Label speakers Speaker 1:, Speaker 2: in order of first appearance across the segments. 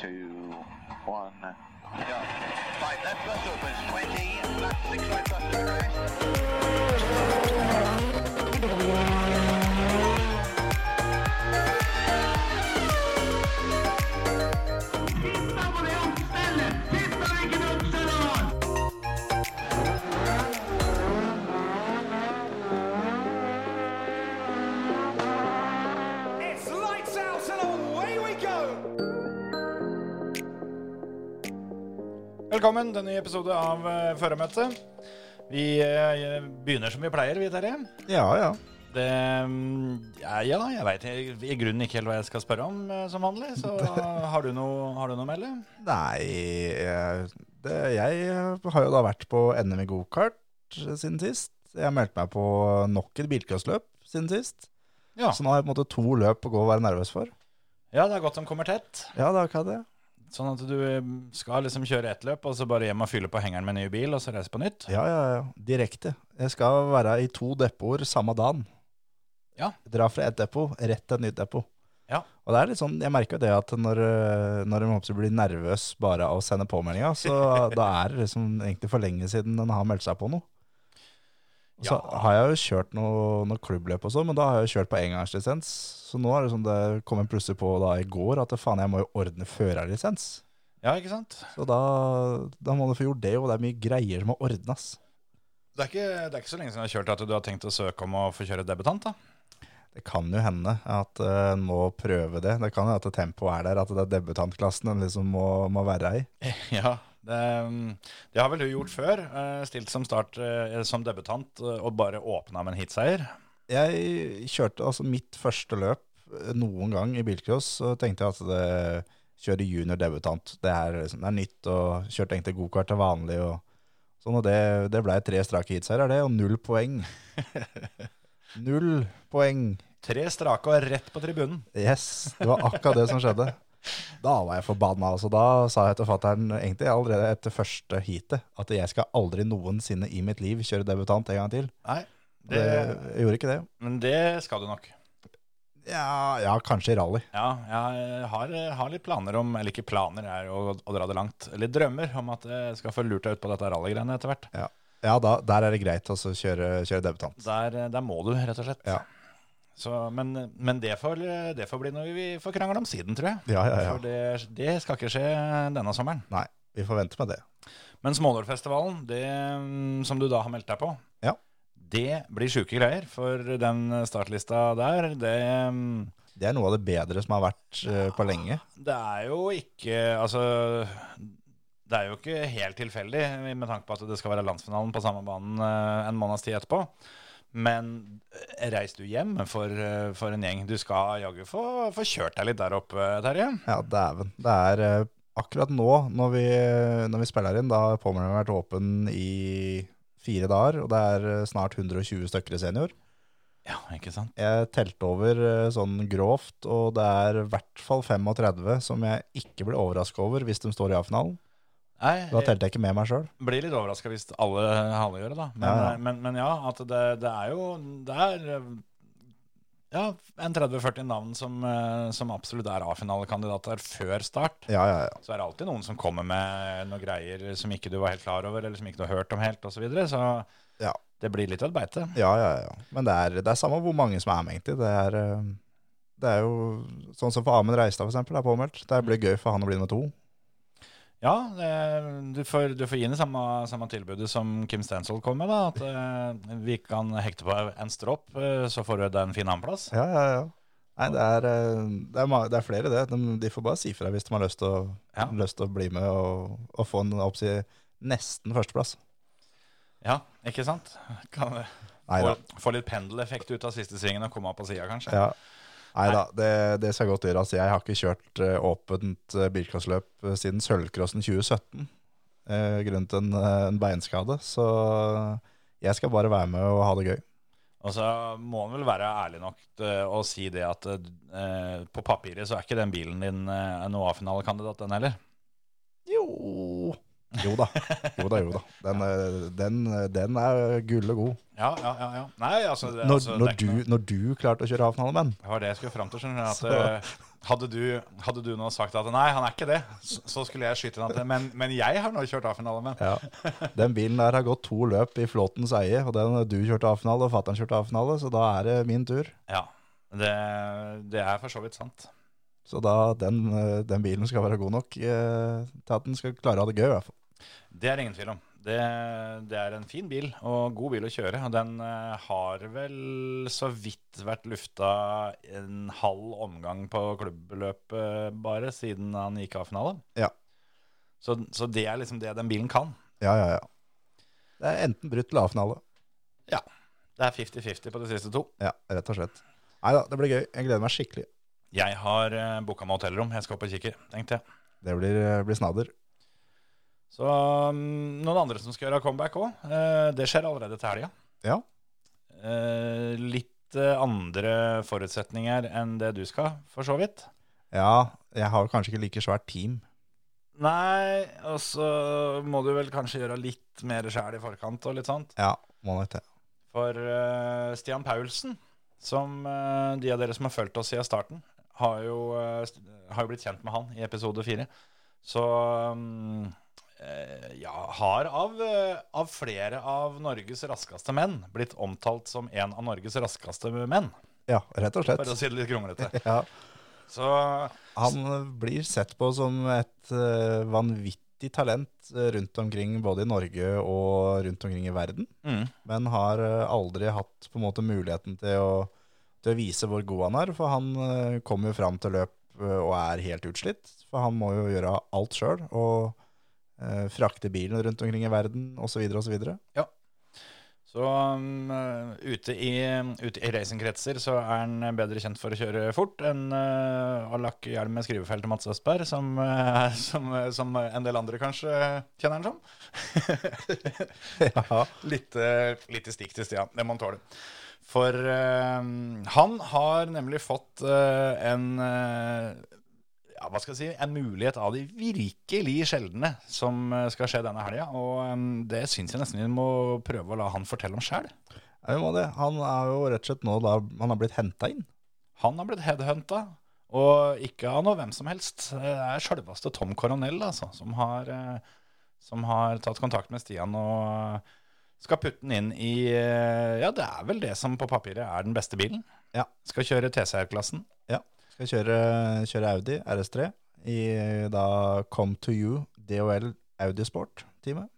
Speaker 1: two, one. Yeah. Right, left bus opens 20, left six right bus to rest.
Speaker 2: It's lights out and away we go!
Speaker 3: Velkommen til en ny episode av eh, Føremøtet. Vi eh, begynner som vi pleier, vi, Terje.
Speaker 4: Ja, ja.
Speaker 3: Det mm, ja, ja, jeg veit i grunnen ikke helt hva jeg skal spørre om eh, som vanlig. Så har du noe, har du noe å melde?
Speaker 4: Nei, eh, det, jeg har jo da vært på NM i gokart siden sist. Jeg meldte meg på nok et bilcrossløp siden sist.
Speaker 3: Ja.
Speaker 4: Så nå har jeg på en måte to løp å gå og være nervøs for.
Speaker 3: ja, det er godt de kommer tett.
Speaker 4: Ja, det er akkurat det.
Speaker 3: Sånn at du eh, skal liksom kjøre ett løp, og så bare hjem og fylle på hengeren med en ny bil, og så reise på nytt.
Speaker 4: Ja, ja, ja. Direkte. Jeg skal være i to depoter samme dagen.
Speaker 3: Ja.
Speaker 4: Dra fra ett depot, rett til et nytt depot.
Speaker 3: Ja.
Speaker 4: Og det er litt sånn, jeg merker jo det at når, øh, når en hoppser blir nervøs bare av å sende påmeldinga, så da er det liksom egentlig for lenge siden en har meldt seg på noe. Og Så
Speaker 3: Ja.
Speaker 4: har jeg jo kjørt noe, noe klubbløp og sånn, men da har jeg jo kjørt på engangslisens. Så nå er det sånn det kom jeg plutselig på da i går at faen, jeg må jo ordne førerlisens.
Speaker 3: Ja, ikke sant?
Speaker 4: Så da, da må du få gjort det, og det er mye greier som må ordnes.
Speaker 3: Det er ikke, det er ikke så lenge siden jeg har kjørt at du har tenkt å søke om å få kjøre debutant, da.
Speaker 4: Det kan jo hende at eh, en må prøve det. Det kan jo at tempoet er der, at det er debutantklassen en liksom må, må være i.
Speaker 3: Ja, det, mm, det har vel hun gjort før. eh, Stilt som start eh, som debutant eh, og bare åpna med en hitseier.
Speaker 4: Jeg kjørte altså mitt første løp eh, noen gang i bilcross, så tenkte jeg at det kjøre junior debutant. Det er, liksom, det er nytt, og kjørte egentlig gokart til vanlig. Og, sånn, og det, det ble tre strake heatseiere, det, og null poeng. null poeng.
Speaker 3: Tre strake og rett på tribunen.
Speaker 4: Yes, det var akkurat det som skjedde. Da var jeg forbanna. Altså. Da sa jeg til fattern egentlig allerede etter første heatet at jeg skal aldri noensinne i mitt liv kjøre debutant en gang til.
Speaker 3: Nei,
Speaker 4: Og Det, jeg gjorde ikke det.
Speaker 3: men det skal du nok.
Speaker 4: Ja, ja kanskje i rally.
Speaker 3: Ja, jeg har, eh, har litt planer om, eller ikke planer, er å, å dra det langt. Eller drømmer om at jeg skal få lurt deg ut på dette rallygreiene etter hvert.
Speaker 4: Ja, da, der er det greit å kjøre, kjøre debutant.
Speaker 3: Der, eh, der må du, rett og slett.
Speaker 4: Ja.
Speaker 3: Så, men men det, får, det får bli noe vi får krangle om siden, tror jeg.
Speaker 4: Ja, ja, ja.
Speaker 3: For det, det skal ikke skje denne sommeren.
Speaker 4: Nei, vi får vente med det.
Speaker 3: Men Smålårfestivalen, det mm, som du da har meldt deg på,
Speaker 4: Ja.
Speaker 3: det blir sjuke greier. For den startlista der, det, mm,
Speaker 4: Det er noe av det bedre som har vært eh, på lenge.
Speaker 3: det er jo ikke Altså, det er jo ikke helt tilfeldig med tanke på at det skal være landsfinalen på samme banen eh, en måneds tid etterpå. Men eh, reis du hjem for, eh, for en gjeng. Du skal jaggu få, få kjørt deg litt der oppe, Terje.
Speaker 4: Ja, dæven. Det er eh, akkurat nå, når vi, når vi spiller inn, da har påmeldingen vært åpen i fire dager, og det er eh, snart 120 stykker i senior.
Speaker 3: Ja, ikke sant?
Speaker 4: Jeg telte over eh, sånn grovt, og det er i hvert fall 35 som jeg ikke blir overraska over hvis de står i A-finalen.
Speaker 3: Nei,
Speaker 4: Da telte jeg ikke med meg sjøl.
Speaker 3: blir litt overraska hvis alle, alle gjør det, da. Men
Speaker 4: Ja,
Speaker 3: ja,
Speaker 4: ja.
Speaker 3: men, men ja at det, det er jo Det er eh, ja, en 30-40 navn som, eh, som absolutt er A-finalekandidater før start.
Speaker 4: Ja, ja, ja.
Speaker 3: Så er det alltid noen som kommer med noen greier som ikke du var helt klar over, eller som ikke du har hørt om helt, osv. Så, videre. så
Speaker 4: Ja.
Speaker 3: det blir litt av et beite.
Speaker 4: ja, ja, ja. Men det er, det er samme hvor mange som er med, egentlig. Det er, eh, det er jo sånn som for Amund Reistad, for eksempel, er påmeldt. Det blir gøy for han å bli nummer to.
Speaker 3: Ja, eh, du får, du får gi henne samme, samme tilbudet som Kim Stensvold kom med, da. At eh, vi kan hekte på en stropp, eh, så får du deg en fin annenplass.
Speaker 4: Ja, ja, ja. Nei, det er, eh, det er, ma- det er flere det. De, de får bare si fra hvis de har lyst til å,
Speaker 3: Ja.
Speaker 4: lyst til å bli med og, og få en oppsi nesten førsteplass.
Speaker 3: Ja, ikke sant? Kan,
Speaker 4: Nei da.
Speaker 3: Få, få litt pendeleffekt ut av siste svingen og komme opp på sida, kanskje.
Speaker 4: Ja. Nei da, det, det skal godt gjøres. Jeg har ikke kjørt eh, åpent eh, bilcrossløp eh, siden Sølvcrossen 2017 eh, grunnet en, eh, en beinskade. Så jeg skal bare være med og ha det gøy.
Speaker 3: Og så må han vel være ærlig nok eh, å si det at eh, på papiret så er ikke den bilen din eh, en OA-finalekandidat, den heller.
Speaker 4: Jo Jo da, jo da. jo da Den, eh, den, eh, den er gullet god.
Speaker 3: Ja, ja, ja. ja. Nei, altså, det,
Speaker 4: Når,
Speaker 3: altså, det
Speaker 4: når,
Speaker 3: er ikke
Speaker 4: du,
Speaker 3: noe-
Speaker 4: når du klarte å kjøre A-finale, men
Speaker 3: Det var det jeg skulle fram til, skjønner du. At,
Speaker 4: Så-
Speaker 3: eh, Hadde du, hadde du nå sagt at nei, han er ikke det, så så skulle jeg skyte den til. Men, men jeg har nå kjørt A-finale med.
Speaker 4: Ja. Den bilen der har gått to løp i Flåtens eie, og den eh, du kjørte A-finale, og fatter'n kjørte A-finale, så da er det min tur.
Speaker 3: Ja, det, det er for så vidt sant.
Speaker 4: Så da den, eh, den bilen skal være god nok eh, til at den skal klare å ha det gøy, i hvert fall.
Speaker 3: Det er det ingen tvil om. Det, det er en fin bil, og god bil å kjøre. Og den eh, har vel så vidt vært lufta en halv omgang på klubbløpet bare, siden han gikk A-finale.
Speaker 4: Ja.
Speaker 3: Så, så det er liksom det den bilen kan.
Speaker 4: Ja, ja, ja. Det er enten brutt eller A-finale.
Speaker 3: Ja. Det er 50-50 på de siste to.
Speaker 4: Ja, rett og slett. Nei da, det blir gøy. Jeg gleder meg skikkelig.
Speaker 3: Jeg har uh, booka meg hotellrom. Jeg skal opp og kikke, tenkte jeg.
Speaker 4: Det blir, eh, blir snadder.
Speaker 3: Så mm, noen andre som skal gjøre comeback òg. det skjer allerede til helga.
Speaker 4: Ja.
Speaker 3: Eh, litt eh, andre forutsetninger enn det du skal, for så vidt.
Speaker 4: ja, jeg har kanskje ikke like svært team.
Speaker 3: Nei, og så må du vel kanskje gjøre litt mer sjæl i forkant og litt sånt.
Speaker 4: Ja, må nok det.
Speaker 3: For eh, Stian Paulsen, som eh, de av dere som har fulgt oss siden starten, har jo, eh, st- har jo blitt kjent med han i episode fire. Så mm, eh, ja, har av, eh, av flere av Norges raskeste menn blitt omtalt som en av Norges raskeste menn.
Speaker 4: Ja, rett og
Speaker 3: For å
Speaker 4: slett.
Speaker 3: si det litt kronglete.
Speaker 4: Ja.
Speaker 3: Så
Speaker 4: Han eh, blir sett på som et eh, vanvittig talent eh, rundt omkring, både i Norge og rundt omkring i verden.
Speaker 3: mm,
Speaker 4: Men har eh, aldri hatt på en måte muligheten til å, til å vise hvor god han er. For han eh, kommer jo fram til løp eh, og er helt utslitt. For han må jo gjøre alt sjøl. Og eh, frakte bilen rundt omkring i verden osv. osv.
Speaker 3: så mm, eh, ute i, ute i racingkretser så er han bedre kjent for å kjøre fort enn uh, å lakke hjelm med skrivefelt til Mats Østberg, som, eh, som, som en del andre kanskje kjenner han som.
Speaker 4: Ja.
Speaker 3: litt, eh, lite stikk til Stian, det må han tåle. For eh, han har nemlig fått eh, en eh, ja, hva skal jeg si, en mulighet av de virkelig sjeldne som eh, skal skje denne helga. Og eh, det syns jeg nesten vi må prøve å la han fortelle om sjæl.
Speaker 4: Ja, vi må det. Han er jo rett og slett nå da han har blitt henta inn.
Speaker 3: Han har blitt headhunta, og ikke av noe hvem som helst. Det er sjølveste Tom Coronel altså, som, har, eh, som har tatt kontakt med Stian og eh, skal putte den inn i eh, Ja, det er vel det som på papiret er den beste bilen.
Speaker 4: Ja.
Speaker 3: Skal kjøre TCR-klassen.
Speaker 4: Ja, skal kjøre, kjøre Audi RS3 i da Come to you DHL Audi Sport-teamet.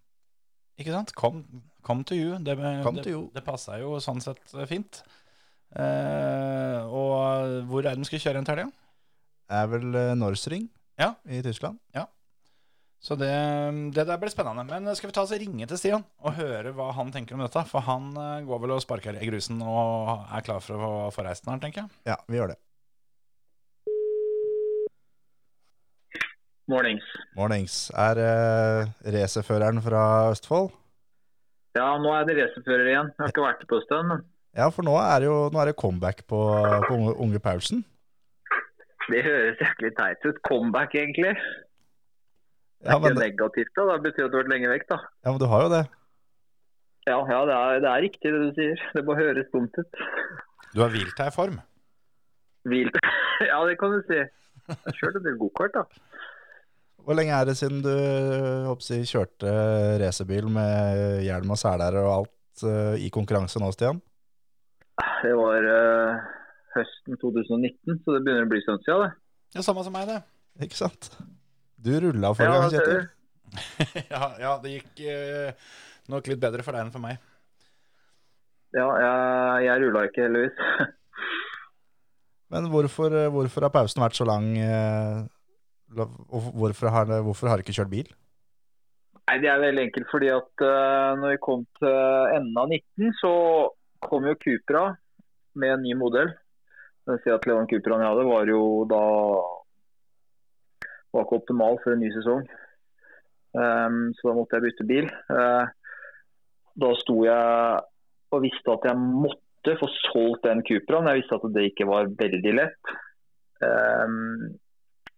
Speaker 3: Ikke sant? Come, come to you. Det,
Speaker 4: Come
Speaker 3: det,
Speaker 4: to you.
Speaker 3: det passa jo sånn sett fint. Eh, og hvor er det de skulle kjøre en til helga?
Speaker 4: Er vel eh, Norsring
Speaker 3: Ja.
Speaker 4: i Tyskland.
Speaker 3: Så det, det der blir spennende. Men skal vi ta oss og ringe til Stian og høre hva han tenker om dette? For han eh, går vel og sparker i grusen og er klar for å få reist den her, tenker jeg.
Speaker 4: Ja, vi gjør det.
Speaker 5: Mornings.
Speaker 4: Mornings. Er eh, racerføreren fra Østfold?
Speaker 5: Ja, nå er det racerfører igjen. Jeg har ikke vært det på en stund. men
Speaker 4: Ja, for nå er, det jo, nå er det comeback på, på unge, unge Paulsen.
Speaker 5: Det høres jæklig teit ut. Comeback, egentlig.
Speaker 4: Ja
Speaker 5: Det er
Speaker 4: men,
Speaker 5: ikke negativt, da. Det betyr at du har vært lenge vekk, da.
Speaker 4: ja, men du har jo det.
Speaker 5: Ja, ja det, er, det er riktig det du sier. Det bare høres dumt ut.
Speaker 3: Du har hvilt deg i form.
Speaker 5: Hvilt Ja, det kan du si. Jeg kjørte en del gokart, da.
Speaker 4: Hvor lenge er det siden du håper, jeg, kjørte eh, racerbil med hjelm og seler og alt eh, i konkurranse nå, Stian?
Speaker 5: Det var eh, høsten 2019, så det begynner å bli stund siden, det.
Speaker 3: Ja, samme som meg, det.
Speaker 4: Ikke sant? Du rulla forrige gang,
Speaker 5: det ser
Speaker 4: Kjetil.
Speaker 5: du.
Speaker 3: ja, ja, det gikk eh, nok litt bedre for deg enn for meg.
Speaker 5: Ja, jeg, jeg rulla ikke, heldigvis.
Speaker 4: Men hvorfor, eh, hvorfor har pausen vært så lang? eh, Og hvorfor har, hvorfor har du ikke kjørt bil?
Speaker 5: Nei, Det er veldig enkelt. fordi at eh, når vi kom til enden av 19, så kom jo Cupra med en ny modell. Det vil si at Leon Cupraen jeg hadde, var jo da var ikke optimal for en ny sesong. Ehm, så da måtte jeg bytte bil. Eh, da sto jeg og visste at jeg måtte få solgt den Cupraen. Jeg visste at det ikke var veldig lett. Ehm,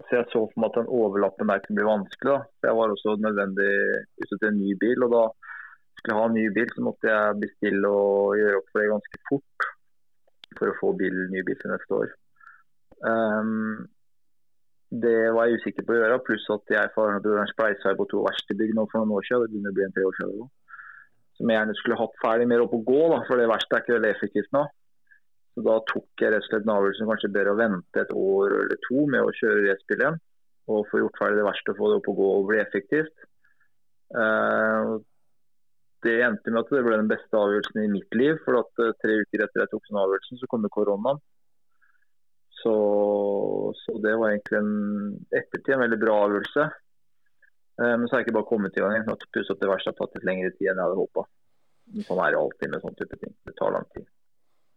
Speaker 5: så jeg så for meg at den overlappen der kunne bli vanskelig. Da. Så Jeg var også nødvendig ute til en ny bil, og da skulle jeg ha en ny bil, så måtte jeg bestille og gjøre opp for det ganske fort for å få bil, ny bil til neste år. Ehm, Det var jeg usikker på å gjøre, pluss at jeg for en spleiser på to verkstedbygg nå for noen år siden. Det begynner å bli en tre år siden. eller noe. Som jeg gjerne skulle hatt ferdig mer opp å gå, da, for det verste er ikke veldig effektivt nå. Så Da tok jeg rett og slett en avgjørelse som kanskje bedre å vente et år eller to med å kjøre racerbil igjen. Og få gjort ferdig det verste og få det opp å gå og bli effektivt. Eh, det endte med at det ble den beste avgjørelsen i mitt liv. For at eh, tre uker etter jeg tok den avgjørelsen, så kom jo koronaen. Så, så det var egentlig en ettertid en veldig bra avgjørelse. Eh, Men så har jeg ikke bare kommet i gang. igjen, at Pluss at det verste har tatt litt lengre tid enn jeg hadde håpa. Sånn er det alltid med sånne type ting. Det tar lang tid.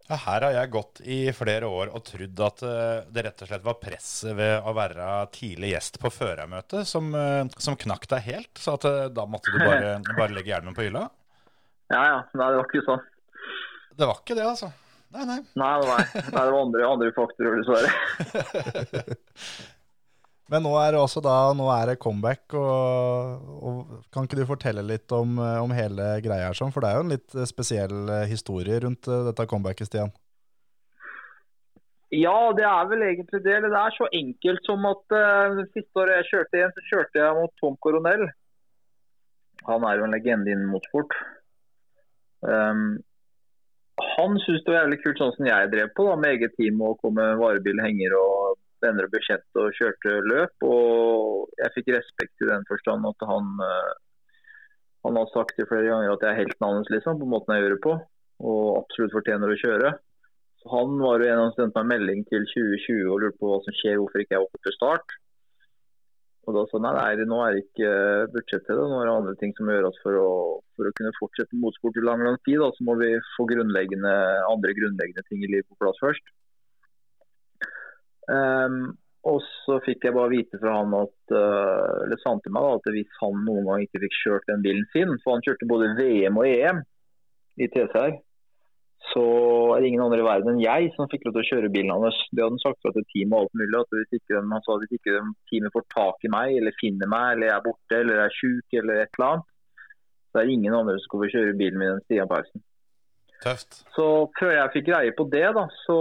Speaker 3: Ja, her har jeg gått i flere år og trodd at eh, det rett og slett var presset ved å være tidlig gjest på førermøtet som, eh, som knakk deg helt. Så at eh, da måtte du bare, bare legge hjelmen på hylla.
Speaker 5: Ja ja, nei, det var ikke sånn.
Speaker 3: Det var ikke det, altså. Nei, nei.
Speaker 5: Nei, nei, nei det var andre, andre faktorer, dessverre.
Speaker 4: Men nå er det også da, nå er det comeback, og, og kan ikke du fortelle litt om, eh, om hele greia her sånn, for det er jo en litt eh, spesiell eh, historie rundt eh, dette comebacket, Stian.
Speaker 5: Ja, det er vel egentlig det. Eller Det er så enkelt som at eh, det siste året jeg kjørte igjen, så kjørte jeg mot Tom Coronel. Han er jo en legende innen motorsport. Ehm, han syntes det var jævlig kult sånn som jeg drev på, da, med eget team og kom med varebil, henger og venner og bekjente og kjørte løp. Og jeg fikk respekt i den forstand at han, eh, han har sagt det flere ganger at jeg er helten hans, liksom, på måten jeg gjør det på. Og absolutt fortjener å kjøre. Så Han var jo en av dem som sendte meg melding til 2020 og lurte på hva som skjer, hvorfor ikke jeg er oppe til start. Og da sa han, nei, nei, nå er det ikke eh, budsjett til det, nå er det andre ting som må gjøres for å, for å kunne fortsette med motorsport i lang lang tid. Da, så må vi få grunnleggende, andre grunnleggende ting i livet på plass først. Ehm, og så fikk jeg bare vite fra han at, eh, eller sa han til meg da, at hvis han noen gang ikke fikk kjørt den bilen sin, for han kjørte både VM og EM i TCR, så er det ingen andre i verden enn jeg som fikk lov til å kjøre bilen hans. Det hadde han sagt fra til teamet og alt mulig. At hvis ikke de, han sa hvis ikke de, teamet får tak i meg, eller finner meg, eller jeg er borte, eller er sjuk, eller et eller annet, så er det ingen andre som skal få kjøre bilen min enn Stian Paulsen.
Speaker 3: Tøft.
Speaker 5: Så før jeg fikk greie på det, da, så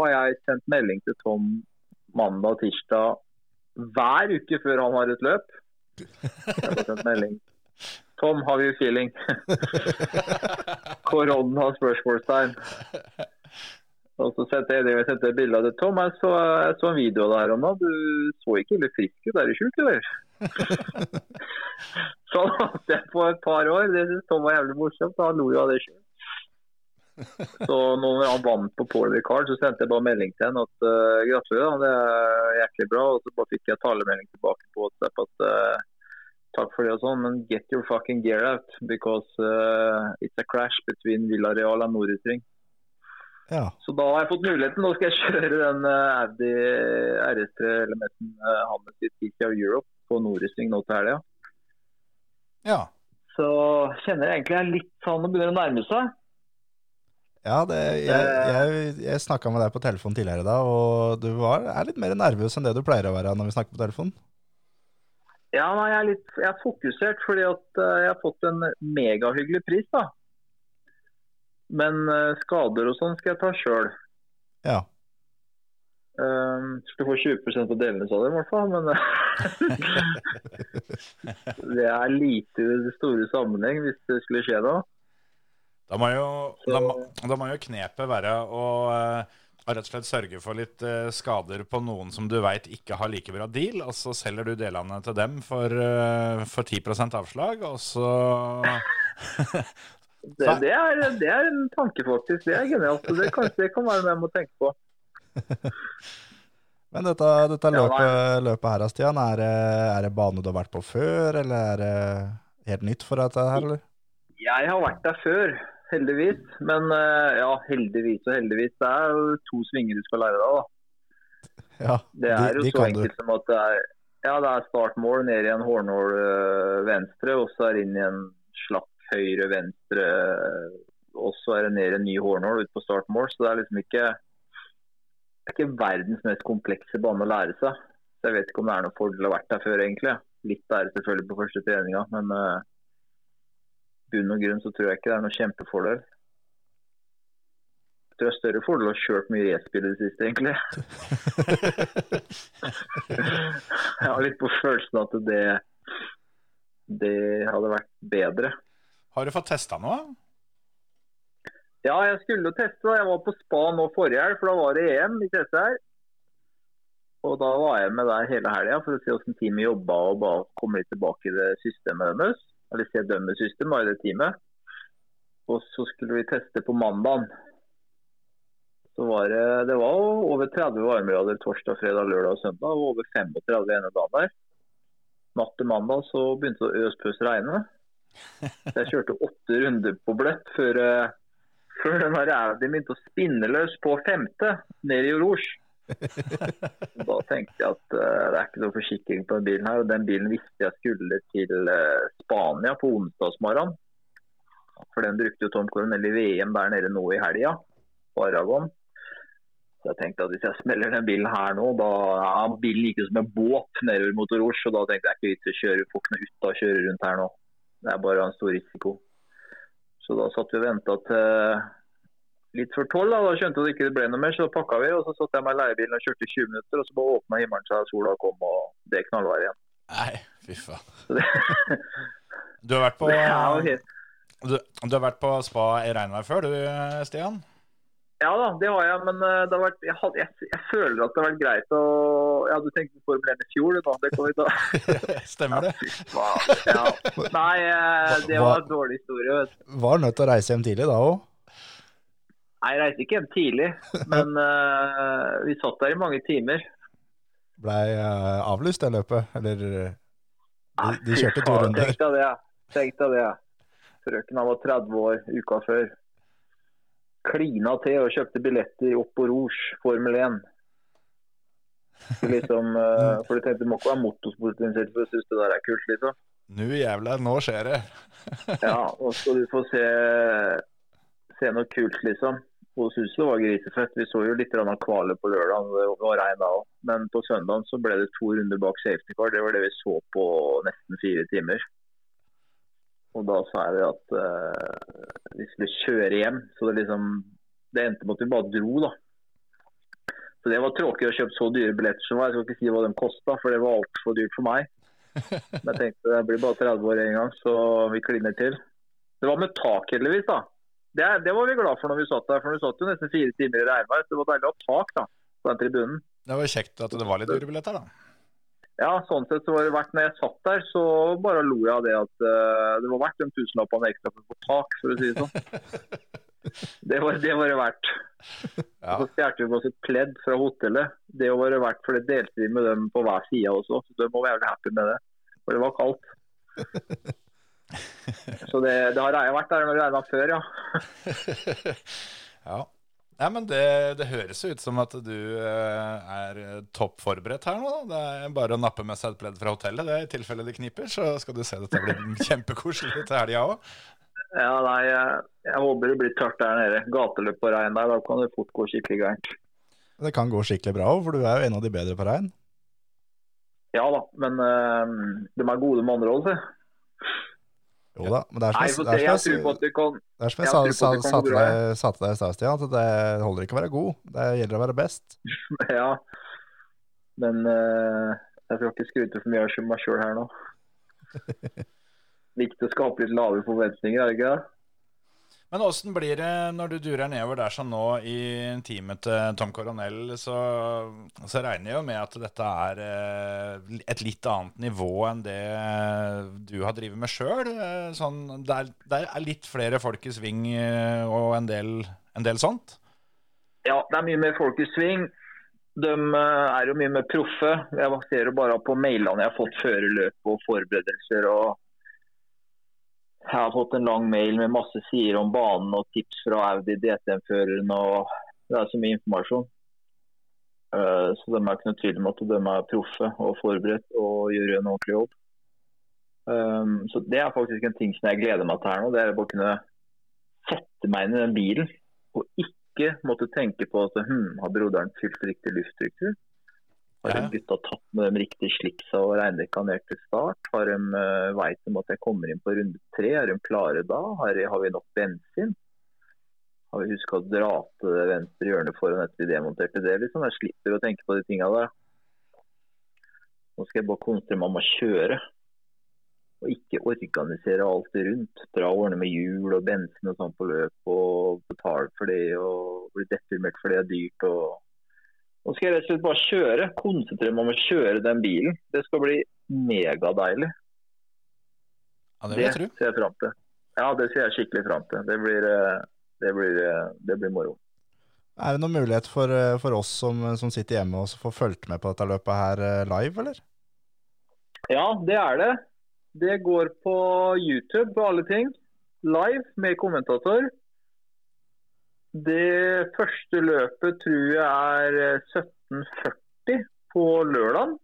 Speaker 5: har jeg sendt melding til Tom mandag og tirsdag hver uke før han har et løp. Jeg har sendt melding. Tom, har vi feeling? Koronaen har spørsmålstegn. Og så sendte jeg, jeg sendte et bilde av det. Tom, jeg så, jeg så en video av deg her om dagen. Du så ikke veldig frisk ut. Er du sjuk, eller? Sånn holdt jeg på et par år. Det syntes Tom var jævlig morsomt. da Han lo jo av det sjøl. Så når han vant på Paul Ricard, så sendte jeg bare melding til henne at uh, gratulerer, det er jæklig bra. Og så bare fikk jeg talemelding tilbake på WhatsApp at eh, takk for det og sånn, men get your fucking gear out because eh, it's a crash between Villareal og Nordutring.
Speaker 4: Ja,
Speaker 5: Så da har jeg fått muligheten. Nå skal jeg kjøre den eh, Audi RS3 Elementen uh, Hammes i Tiki of Europe på Nordutring nå til helga.
Speaker 3: Ja.
Speaker 5: Så kjenner jeg egentlig jeg er litt sånn og begynner å nærme seg.
Speaker 4: ja det, jeg, jeg, jeg snakka med deg på telefon tidligere da, og du var, er litt mer nervøs enn det du pleier å være når vi snakker på telefon.
Speaker 5: Ja, nei, jeg, er litt, jeg er fokusert fordi at eh, jeg har fått en megahyggelig pris. da. Men eh, skader og sånn skal jeg ta sjøl.
Speaker 4: Ja.
Speaker 5: Um, skal få 20 på delene av det, i hvert fall. Men eh, det er lite i det store sammenheng hvis det skulle skje da.
Speaker 3: Da må jo, da må, da må jo knepet være å eh, rett og slett sørge for litt eh, skader på noen som du veit ikke har like bra deal, og så selger du delene til dem for, eh, for 10 avslag, og så
Speaker 5: Det, det, er, det er en tanke, faktisk. Det er genialt. så Det, kan- det kan være noe jeg må tenke på.
Speaker 4: Men dette, dette
Speaker 5: Ja,
Speaker 4: løpet, løpet her, Stian, er, det- er det bane du har vært på før, eller er det helt nytt for deg, dette her, eller?
Speaker 5: Jeg har vært der før, heldigvis. Men eh, ja, heldigvis og heldigvis. Det er jo to svinger du skal lære deg, da.
Speaker 4: Ja,
Speaker 5: Det er
Speaker 4: de,
Speaker 5: jo
Speaker 4: de
Speaker 5: så
Speaker 4: kan du.
Speaker 5: enkelt som at det er, ja, det er startmål ned i en hårnål øh, venstre, og så er det inn i en slapp høyre venstre, øh, og så er det ned i en ny hårnål ut på startmål. Så det er liksom ikke, det er ikke verdens mest komplekse bane å lære seg. Så jeg vet ikke om det er noen fordel å ha vært der før, egentlig. Litt er det selvfølgelig på første treninga, men øh, bunn og grunn så tror jeg ikke det er noen kjempefordel. tror jeg større fordel å ha kjørt mye racerbil i det siste, egentlig. jeg har litt på følelsen at det, det hadde vært bedre.
Speaker 3: Har du fått testa noe?
Speaker 5: Ja, jeg skulle jo teste. da. Jeg var på spa nå forrige helg, for da var det EM i teste her. Og da var jeg med der hele helga for å se hvordan teamet jobba og bare komme litt tilbake i det systemet deres. Eller se dømmes system da, i det teamet. Og så skulle vi teste på mandagen. Så var det, det var jo over 30 varmegrader torsdag, fredag, lørdag og søndag. Og over 35 ene dagen der. Natt til mandag så begynte det å øspøs regne. Så jeg kjørte åtte runder på bløtt før eh, før den her Audi begynte å spinne løs på femte, nede i Rouge. da tenkte jeg at eh, det er ikke noe forsikring på den bilen her. Og den bilen visste jeg skulle til eh, Spania på onsdagsmorgen. For den brukte jo Tom Coronel i VM der nede nå i helga, på Aragon. Så jeg tenkte at hvis jeg smeller den bilen her nå, da ja, Bilen gikk jo som en båt nedover mot Rouge, og da tenkte jeg det er ikke vits i å kjøre, får ikke noe ut av å kjøre rundt her nå. Det er bare en stor risiko. Så da satt vi og venta til litt før tolv. Da. da skjønte vi at det ikke ble noe mer, så da pakka vi. og Så satt jeg meg i leiebilen og kjørte 20 minutter, og så bare åpna himmelen seg, og sola kom, og det knallvær igjen.
Speaker 3: Nei, fy faen.
Speaker 5: Så det,
Speaker 3: Du har vært på,
Speaker 5: det er jo helt
Speaker 3: du, du har vært på spa i regnvær før, du, Stian?
Speaker 5: Ja da, det har jeg, men eh, det har vært, jeg, hadde, jeg, jeg føler at det har vært greit å Jeg hadde tenkt på Formel 1 i fjor, da. Det kom vi til å
Speaker 3: Stemmer det?
Speaker 5: Hva- ja. Nei, eh, det var en dårlig historie. vet du.
Speaker 4: Var nødt til å reise hjem tidlig da òg.
Speaker 5: Nei, Jeg reiste ikke hjem tidlig, men eh, vi satt der i mange timer.
Speaker 4: Blei eh, avlyst det løpet. Eller eh, de, de kjørte to runder.
Speaker 5: Tenk deg det. Tenk deg det. Frøken han var 30 år uka før. Klina til og kjøpte billetter opp på Rouge Formel 1. Så liksom, eh, for de tenkte det må ikke være motorsportprinsipp for å synes det der er kult, liksom.
Speaker 3: Nu jævla, nå skjer det.
Speaker 5: Ja, og skal du få se, se noe kult, liksom. Og synes det var grisefett. Vi så jo litt grann av kvale på lørdag, det var regn da òg. Men på søndagen så ble det to runder bak safety car. Det var det vi så på nesten fire timer. Og da sa jeg det at eh, vi skulle kjøre hjem. Så det liksom Det endte med at vi bare dro, da. Så det var tråkig å kjøpe så dyre billetter som var. Jeg skal ikke si hva de kosta, for det var altfor dyrt for meg. Men jeg tenkte jeg blir bare 30 år en gang, så vi kliner til. Det var med tak, heldigvis. da. Det, det var vi glad for når vi satt der. For vi satt jo nesten fire timer i regnvær. så Det var deilig å ha tak da, på den tribunen.
Speaker 3: Det var kjekt at det var litt dyre billetter, da.
Speaker 5: Ja, sånn sett så var det verdt når jeg satt der, så bare lo jeg av det at eh, det var verdt de tusenlappene ekstra for å få tak, for å si det sånn. Det var det, var det verdt.
Speaker 3: Ja.
Speaker 5: Så stjal vi med oss et pledd fra hotellet. Det var det verdt, for det delte vi med dem på hver side også. Så de var jævlig happy med det. For det var kaldt. Så det, det har jeg vært der når det regna før, ja.
Speaker 3: ja. Nei, men det, det høres jo ut som at du eh, er topp forberedt her nå. da. Det er bare å nappe med seg et pledd fra hotellet. det er I tilfelle det kniper, så skal du se dette blir kjempekoselig til helga òg.
Speaker 5: Ja, nei, jeg, jeg håper det blir tørt der nede. Gateløp og regn der, da kan det fort gå skikkelig gærent.
Speaker 4: Det kan gå skikkelig bra òg, for du er jo en av de bedre på regn.
Speaker 5: Ja da, men eh, de er gode med andre hold, se.
Speaker 4: Jo da, men det er
Speaker 5: Nei,
Speaker 4: som
Speaker 5: for
Speaker 4: jeg-
Speaker 5: det,
Speaker 4: det er
Speaker 5: jeg
Speaker 4: som
Speaker 5: tror på
Speaker 4: jeg-
Speaker 5: at du kan
Speaker 4: det er som jeg
Speaker 5: jeg
Speaker 4: sa,
Speaker 5: tror på at
Speaker 4: sa,
Speaker 5: det kan
Speaker 4: sa
Speaker 5: gå
Speaker 4: til
Speaker 5: bra,
Speaker 4: deg- sa til deg i stad, Stian, at det holder ikke å være god. Det gjelder å være best.
Speaker 5: Ja. Men eh, jeg skal ikke skryte for mye av meg sjøl her nå. Viktig å skape litt lave forventninger, er det ikke det?
Speaker 3: Men åssen blir det når du durer nedover der som nå i teamet til Tom Coronel, så, så regner jeg jo med at dette er eh, et litt annet nivå enn det du har drevet med sjøl. Sånn, det, er- det er litt flere folk i sving eh, og en del, en del sånt.
Speaker 5: Ja, det er mye mer folk i sving. De eh, er jo mye mer proffe. Jeg baserer jo bare på mailene jeg har fått før løp og forberedelser. og Jeg har fått en lang mail med masse sider om banen og tips fra Audi DTM-føreren. og Det er så mye informasjon. Eh, Så de er ikke noe tvil om at de er proffe og forberedt og gjør en ordentlig jobb. Um, Så Det er faktisk en ting som jeg gleder meg til her nå. Det er å bare kunne sette meg inn i den bilen og ikke ikke måtte tenke på at hm, har broderen fylt riktig lufttrykkur? Har
Speaker 3: Ja.
Speaker 5: de gutta tatt med de riktige slipsa og regndekka ned til start? Har de uh, veit om at jeg kommer inn på runde tre? Er de klare da? Har, har vi nok bensin? og huske å dra til det venstre hjørnet foran etter vi demonterte det. liksom. Jeg slipper å tenke på de tinga der. Nå skal jeg bare konsentrere meg om å kjøre. Og ikke organisere alt det rundt. Dra og ordne med hjul og bensin og sånn på løp og betale for det og bli deprimert fordi det er dyrt. og... Nå skal jeg rett og slett bare kjøre. Konsentrere meg om å kjøre den bilen. Det skal bli megadeilig.
Speaker 3: Ja, det vil jeg tro.
Speaker 5: ser jeg fram til. Ja, det ser jeg skikkelig fram til. Det blir, eh, det blir, eh, det blir moro.
Speaker 4: Er det noen mulighet for, eh, for oss som, som sitter hjemme og så får fulgt med på dette løpet her eh, live, eller?
Speaker 5: Ja, det er det. Det går på YouTube på alle ting. Live med kommentator. Det første løpet tror jeg er eh, 17.40 på lørdag.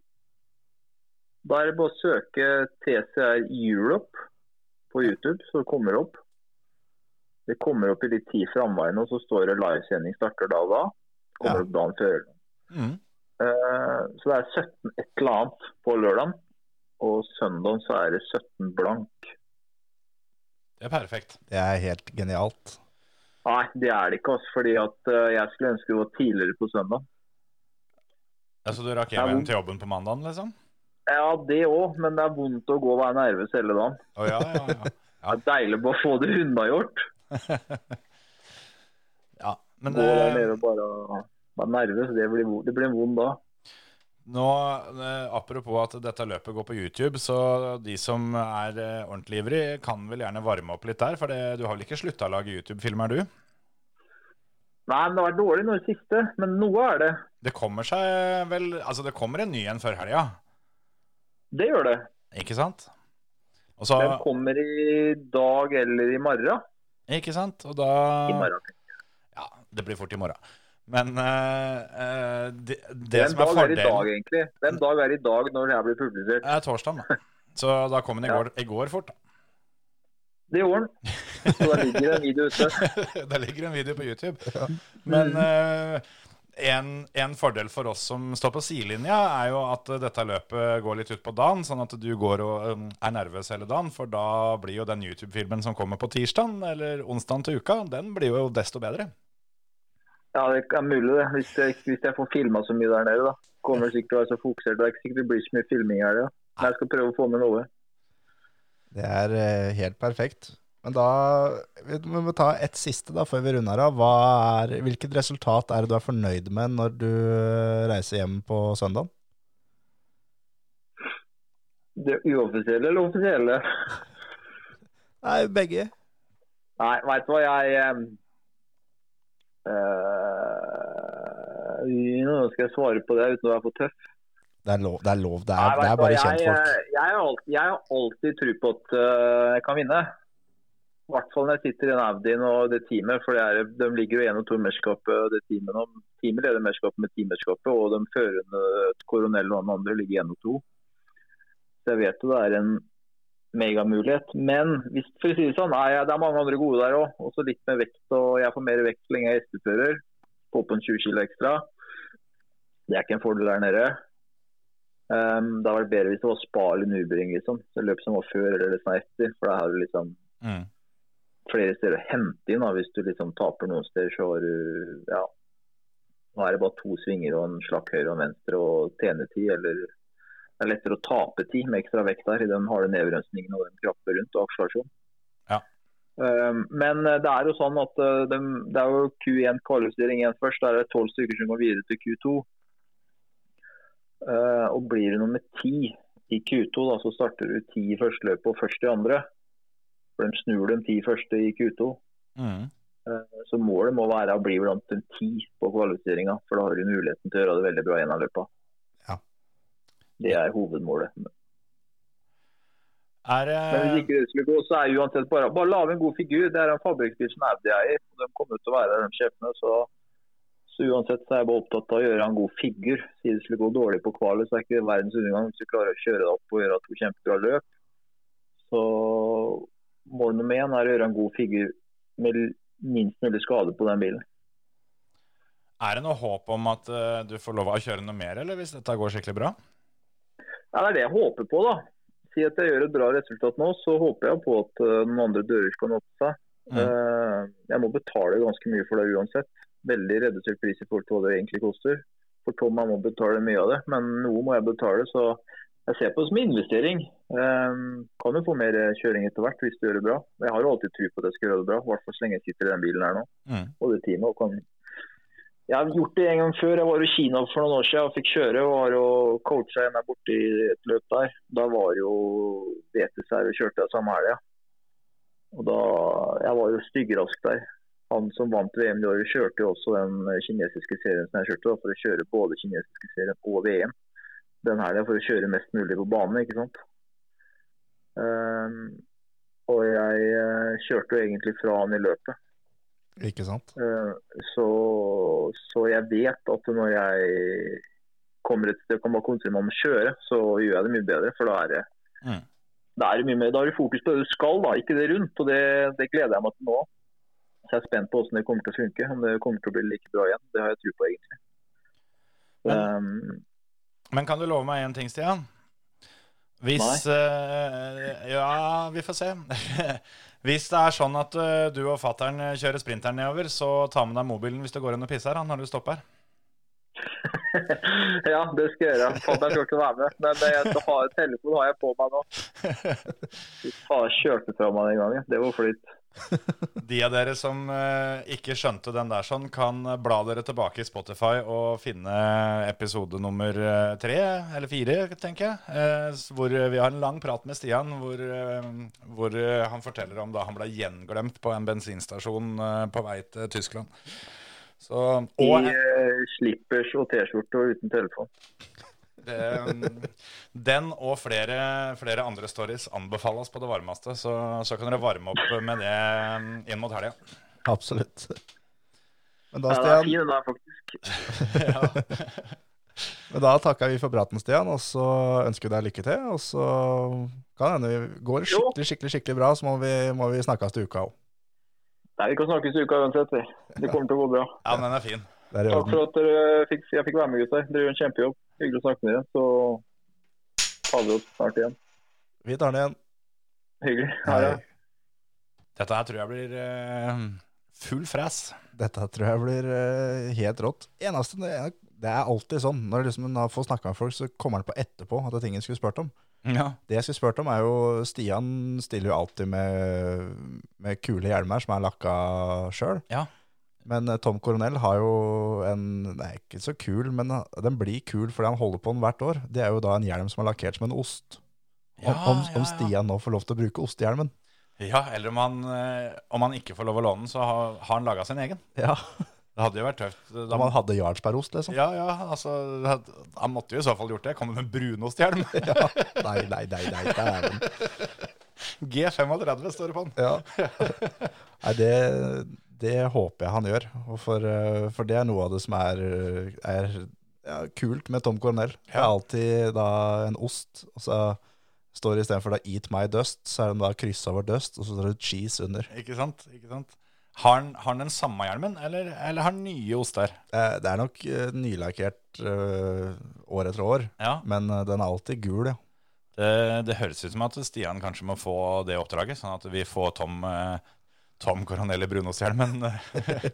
Speaker 5: Da er det bare å søke TCR Europe på YouTube, så kommer det opp. Det kommer opp i litt tid framveiene, og så står det livesending starter da og da. Kommer
Speaker 4: Ja.
Speaker 5: opp dagen før.
Speaker 3: Mm.
Speaker 5: Eh, Så det er 17 et eller annet på lørdag. Og søndag så er det 17 blank.
Speaker 3: Det er perfekt.
Speaker 4: Det er helt genialt.
Speaker 5: Nei, det er det ikke. Altså, fordi at eh, jeg skulle ønske det var tidligere på søndag.
Speaker 3: Ja, så Altså, du rakk
Speaker 5: Ja,
Speaker 3: hjem igjen
Speaker 5: men-
Speaker 3: til jobben på mandagen, liksom?
Speaker 5: Ja, det òg, men det er vondt å gå og være nervøs hele dagen.
Speaker 3: Å ja, ja, ja.
Speaker 5: Det er deilig bare å få det unnagjort.
Speaker 3: ja. Men
Speaker 5: Gå der
Speaker 3: eh,
Speaker 5: nede og bare være nervøs, det blir, vo- det blir en vond dag.
Speaker 3: Nå, eh, Apropos at dette løpet går på YouTube, så de som er eh, ordentlig ivrig, kan vel gjerne varme opp litt der. For det, du har vel ikke slutta å lage YouTube-filmer, du?
Speaker 5: Nei, men det har vært dårlig nå i det siste, men noe er det.
Speaker 3: Det kommer seg vel Altså, det kommer en ny en før helga,
Speaker 5: Det gjør det.
Speaker 3: ikke sant? Og så,
Speaker 5: Den kommer i dag eller i morgen.
Speaker 3: ikke sant? Og
Speaker 5: I
Speaker 3: da
Speaker 5: morgen.
Speaker 3: Ja, det blir fort i morgen. Men eh, eh, det, det
Speaker 5: Hvem
Speaker 3: som er
Speaker 5: dag er i dag,
Speaker 3: fordelen
Speaker 5: egentlig? Hvem dag er i dag når det her blir publisert?
Speaker 3: er torsdag, da. Så da kom den i går, i går fort. da.
Speaker 5: Det gjorde han. Så da ligger det en video ute.
Speaker 3: Der ligger en video på YouTube. Men eh, en, en fordel for oss som står på sidelinja, er jo at eh, dette løpet går litt ut på dagen, sånn at du går og eh, er nervøs hele dagen. For da blir jo den YouTube-filmen som kommer på tirsdag eller onsdag til uka, den blir jo desto bedre.
Speaker 5: Ja, det er mulig det. Hvis jeg, hvis jeg får filma så mye der nede, da. Kommer det sikkert til å være så fokusert. Det er ikke sikkert det blir så mye filming her, ja. Men jeg skal prøve å få med noe.
Speaker 4: Det er eh, helt perfekt. Men da vi vi må ta ett siste da, før vi runder av. Hva er, hvilket resultat er det du er fornøyd med når du eh, reiser hjem på søndag?
Speaker 5: Det uoffisielle eller offisielle?
Speaker 4: Nei, begge.
Speaker 5: Nei, veit du hva, jeg eh, eh, Nå skal jeg svare på det uten å være for tøff.
Speaker 4: Det er lov, det er, lov. Det
Speaker 5: Nei,
Speaker 4: er, det
Speaker 5: vet
Speaker 4: er
Speaker 5: du hva,
Speaker 4: bare kjentfolk.
Speaker 5: Jeg, jeg, har alltid, jeg har alltid tro på at øh, jeg kan vinne. I hvert fall når jeg sitter i den Audien og det teamet. For det er, de ligger jo én og to i mesterskapet. og Det teamet, de, teamet leder mesterskapet med teammesterskapet, og de førende Coronel og han andre ligger én og to. Så jeg vet jo det er en megamulighet. Men hvis, for å si det sånn, nei, det er mange andre gode der òg. Også litt med vekt, og jeg får mer vekt så lenge jeg er hestefører. Få på en 20 kg ekstra. Det er ikke en fordel der nede. Ehm, det hadde vært bedre hvis det var spa eller nubring, liksom. Så løp som var før eller litt sånn etter. For da har du liksom
Speaker 3: Mm.
Speaker 5: flere steder å hente inn. Da. Hvis du liksom taper noen steder, så har du ja. Nå er det bare to svinger og en slakk høyre og en venstre og tenetid, eller det er lettere å tape tid med ekstra vekt der i den harde nedbremsningen og den krappe rundt og akselerasjon.
Speaker 3: Ja.
Speaker 5: Ehm, men det er jo sånn at eh, dem- det er jo Q1 kvalifisering igjen først. Der er det tolv stykker som går videre til Q2. Eh, og blir du nummer ti i Q2, da, så starter du ti i første løpet og først i andre. For de snur de ti første i Q2.
Speaker 3: Mm.
Speaker 5: Eh, Så målet må være å bli blant de ti på kvalifiseringa, for da har du muligheten til å gjøre det veldig bra i en av løpa.
Speaker 4: Ja.
Speaker 5: Det er hovedmålet.
Speaker 3: Er eh,
Speaker 5: Men hvis
Speaker 3: det
Speaker 5: ikke det skulle gå, så er uansett bare bare lage en god figur. Det er en fabrikkbil som Audi eier. De kommer til å være der, de sjefene. Så, så uansett så er jeg bare opptatt av å gjøre en god figur. Si det skulle gå dårlig på kvalet, så er ikke det verdens undergang hvis du klarer å kjøre deg opp og gjøre to kjempebra løp. Så mål nummer én er å gjøre en god figur med l- minst mulig skade på den bilen.
Speaker 3: er det noe håp om at eh, du får lov å kjøre noe mer, eller hvis dette går skikkelig bra?
Speaker 5: Ja, det er det jeg håper på, da. Si at jeg gjør et bra resultat nå, så håper jeg på at eh, noen andre dører kan åpne seg.
Speaker 3: Mm.
Speaker 5: Eh, Jeg må betale ganske mye for det uansett. Veldig redusert pris i forhold til hva det egentlig koster. For Tom jeg må betale mye av det, men noe må jeg betale. Så jeg ser på det som en investering. Eh, Kan jo få mer kjøring etter hvert hvis du gjør det bra. Jeg har jo alltid tro på at jeg skal gjøre det bra, i hvert fall så lenge jeg sitter i den bilen her nå.
Speaker 3: Mm.
Speaker 5: Og det teamet og kan jeg har gjort det en gang før. Jeg var i Kina for noen år siden og fikk kjøre. og var og coacha en der borte i et løp der. Da var jo VTS her og kjørte jeg samme helga. Og da, Jeg var jo styggrask der. Han som vant VM det året, kjørte jo også den kinesiske serien som jeg kjørte, da, for å kjøre både kinesiske serien og VM. Den helga for å kjøre mest mulig på banen, ikke sant. Ehm, og jeg eh, kjørte jo egentlig fra han i løpet.
Speaker 4: Ikke sant?
Speaker 5: Eh, Så, så jeg vet at når jeg kommer et sted og kan bare konsentrere meg om å kjøre, så gjør jeg det mye bedre. For da er det,
Speaker 3: Mm.
Speaker 5: da er det mye mer, da har du fokus på det du skal, da, ikke det rundt. Og det, det gleder jeg meg til nå. Så jeg er spent på hvordan det kommer til å funke. Om det kommer til å bli like bra igjen. Det har jeg tro på, egentlig. Eh,
Speaker 3: Men kan du love meg én ting, Stian? Hvis eh, Ja, vi får se. hvis det er sånn at eh, du og fattern kjører sprinteren nedover, så ta med deg mobilen hvis du går inn og pisser han når du stopper.
Speaker 5: ja, det skal jeg gjøre. Fadderen skal ikke være med. Men det, jeg har, telefonen har jeg på meg nå. Fy faen, kjørte fra meg den gangen. Det var flyt.
Speaker 3: De av dere som eh, ikke skjønte den der sånn, kan bla dere tilbake i Spotify og finne episode nummer eh, tre, eller fire, tenker jeg. eh, s- hvor vi har en lang prat med Stian, hvor, eh, hvor eh, han forteller om da han ble gjenglemt på en bensinstasjon eh, på vei til Tyskland. Så, og
Speaker 5: I eh, slippers og T-skjorte og uten telefon.
Speaker 3: Det, mm, den og flere, flere andre stories anbefales på det varmeste, så, så kan dere varme opp med det mm, inn mot helga.
Speaker 4: Absolutt. Men da,
Speaker 5: Ja, det er
Speaker 4: Stian,
Speaker 5: fin, den er faktisk.
Speaker 3: Ja.
Speaker 4: men da takker vi for praten, Stian, og så ønsker vi deg lykke til. Og så kan det hende vi går det
Speaker 5: Jo.
Speaker 4: skikkelig, skikkelig skikkelig bra, så må vi, må vi snakkes til uka òg.
Speaker 5: Nei, vi kan snakkes i uka uansett. vi. Det kommer til å gå bra.
Speaker 3: ja, den er fin.
Speaker 4: Det er i
Speaker 5: Takk
Speaker 4: orden.
Speaker 5: for at dere eh, fikk, jeg fikk være med, gutter. Dere gjør en kjempejobb. Hyggelig å snakke med dere. Så tar vi opp snart igjen.
Speaker 4: Vi tar den igjen.
Speaker 5: Hyggelig. Ha det.
Speaker 3: Dette her tror jeg blir eh, full fres.
Speaker 4: Dette tror jeg blir eh, helt rått. Eneste, det er- det er alltid sånn. Når liksom en har fått snakka med folk, så kommer han på etterpå at det er ting en skulle spurt om.
Speaker 3: Ja.
Speaker 4: Det jeg skulle spurt om, er jo Stian stiller jo alltid med, med kule hjelmer som er lakka sjøl.
Speaker 3: Ja.
Speaker 4: Men eh, Tom Coronel har jo en Det er ikke så kul, men den blir kul fordi han holder på den hvert år. Det er jo da en hjelm som er lakkert som en ost. Om,
Speaker 3: Ja,
Speaker 4: om,
Speaker 3: ja, ja.
Speaker 4: om Stian nå får lov til å bruke ostehjelmen.
Speaker 3: ja, eller om han, eh, om han ikke får lov å låne den, så har, har han laga sin egen.
Speaker 4: Ja.
Speaker 3: Det hadde jo vært tøft. Da
Speaker 4: Om han hadde jarlsbergost, liksom.
Speaker 3: ja, ja, altså, Han måtte jo i så fall gjort det. Kom med en brunosthjelm.
Speaker 4: Ja. Nei, nei, nei, nei, dæven.
Speaker 3: G35 står det på den.
Speaker 4: Ja. Nei, det, det håper jeg han gjør. og For, eh, for det er noe av det som er, eh, er ja, kult med Tom Cornell. Det er alltid da en ost, og så står det istedenfor da 'Eat my dust', så er den da kryssa over 'dust', og så står det 'cheese' under.
Speaker 3: Ikke sant? Ikke sant? Har han, har han den samme hjelmen, eller, eller har han nye oster?
Speaker 4: Eh, Det er nok eh, nylakkert eh, år etter år,
Speaker 3: Ja.
Speaker 4: men eh, den er alltid gul, ja.
Speaker 3: Det, det høres ut som at Stian kanskje må få det oppdraget, sånn at vi får Tom, eh, Tom Coronelli Brunos-hjelmen eh,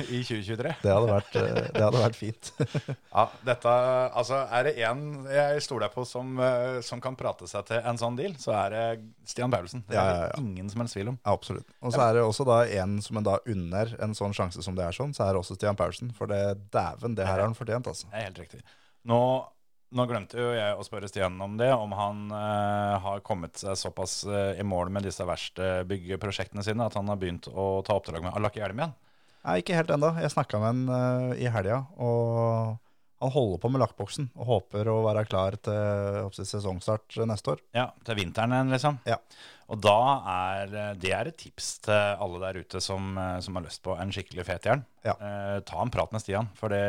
Speaker 3: i 2023.
Speaker 4: Det hadde vært, eh, det hadde vært fint.
Speaker 3: Ja, dette, altså, Er det én jeg stoler på som, eh, som kan prate seg til en sånn deal, så er det Stian Paulsen. Det er
Speaker 4: Ja, ja, ja.
Speaker 3: det ingen som helst tvil om.
Speaker 4: Ja, Absolutt. Og så er det også da en som en da unner en sånn sjanse som det er sånn, så er det også Stian Paulsen. For det dæven, det her har han fortjent, altså.
Speaker 3: Det er helt riktig. Nå, nå glemte jo jeg å spørre Stian om det, om han eh, har kommet seg såpass eh, i mål med disse verste byggeprosjektene sine at han har begynt å ta oppdrag med å lakke hjelm igjen.
Speaker 4: Nei, ikke helt ennå. Jeg snakka med han eh, i helga, og han holder på med lakkboksen og håper å være klar til jeg håper, sesongstart neste år.
Speaker 3: Ja, til vinteren igjen, liksom.
Speaker 4: Ja.
Speaker 3: Og da er eh, det er et tips til alle der ute som, eh, som har lyst på en skikkelig fet hjelm.
Speaker 4: Ja.
Speaker 3: Eh, ta en prat med Stian, for det,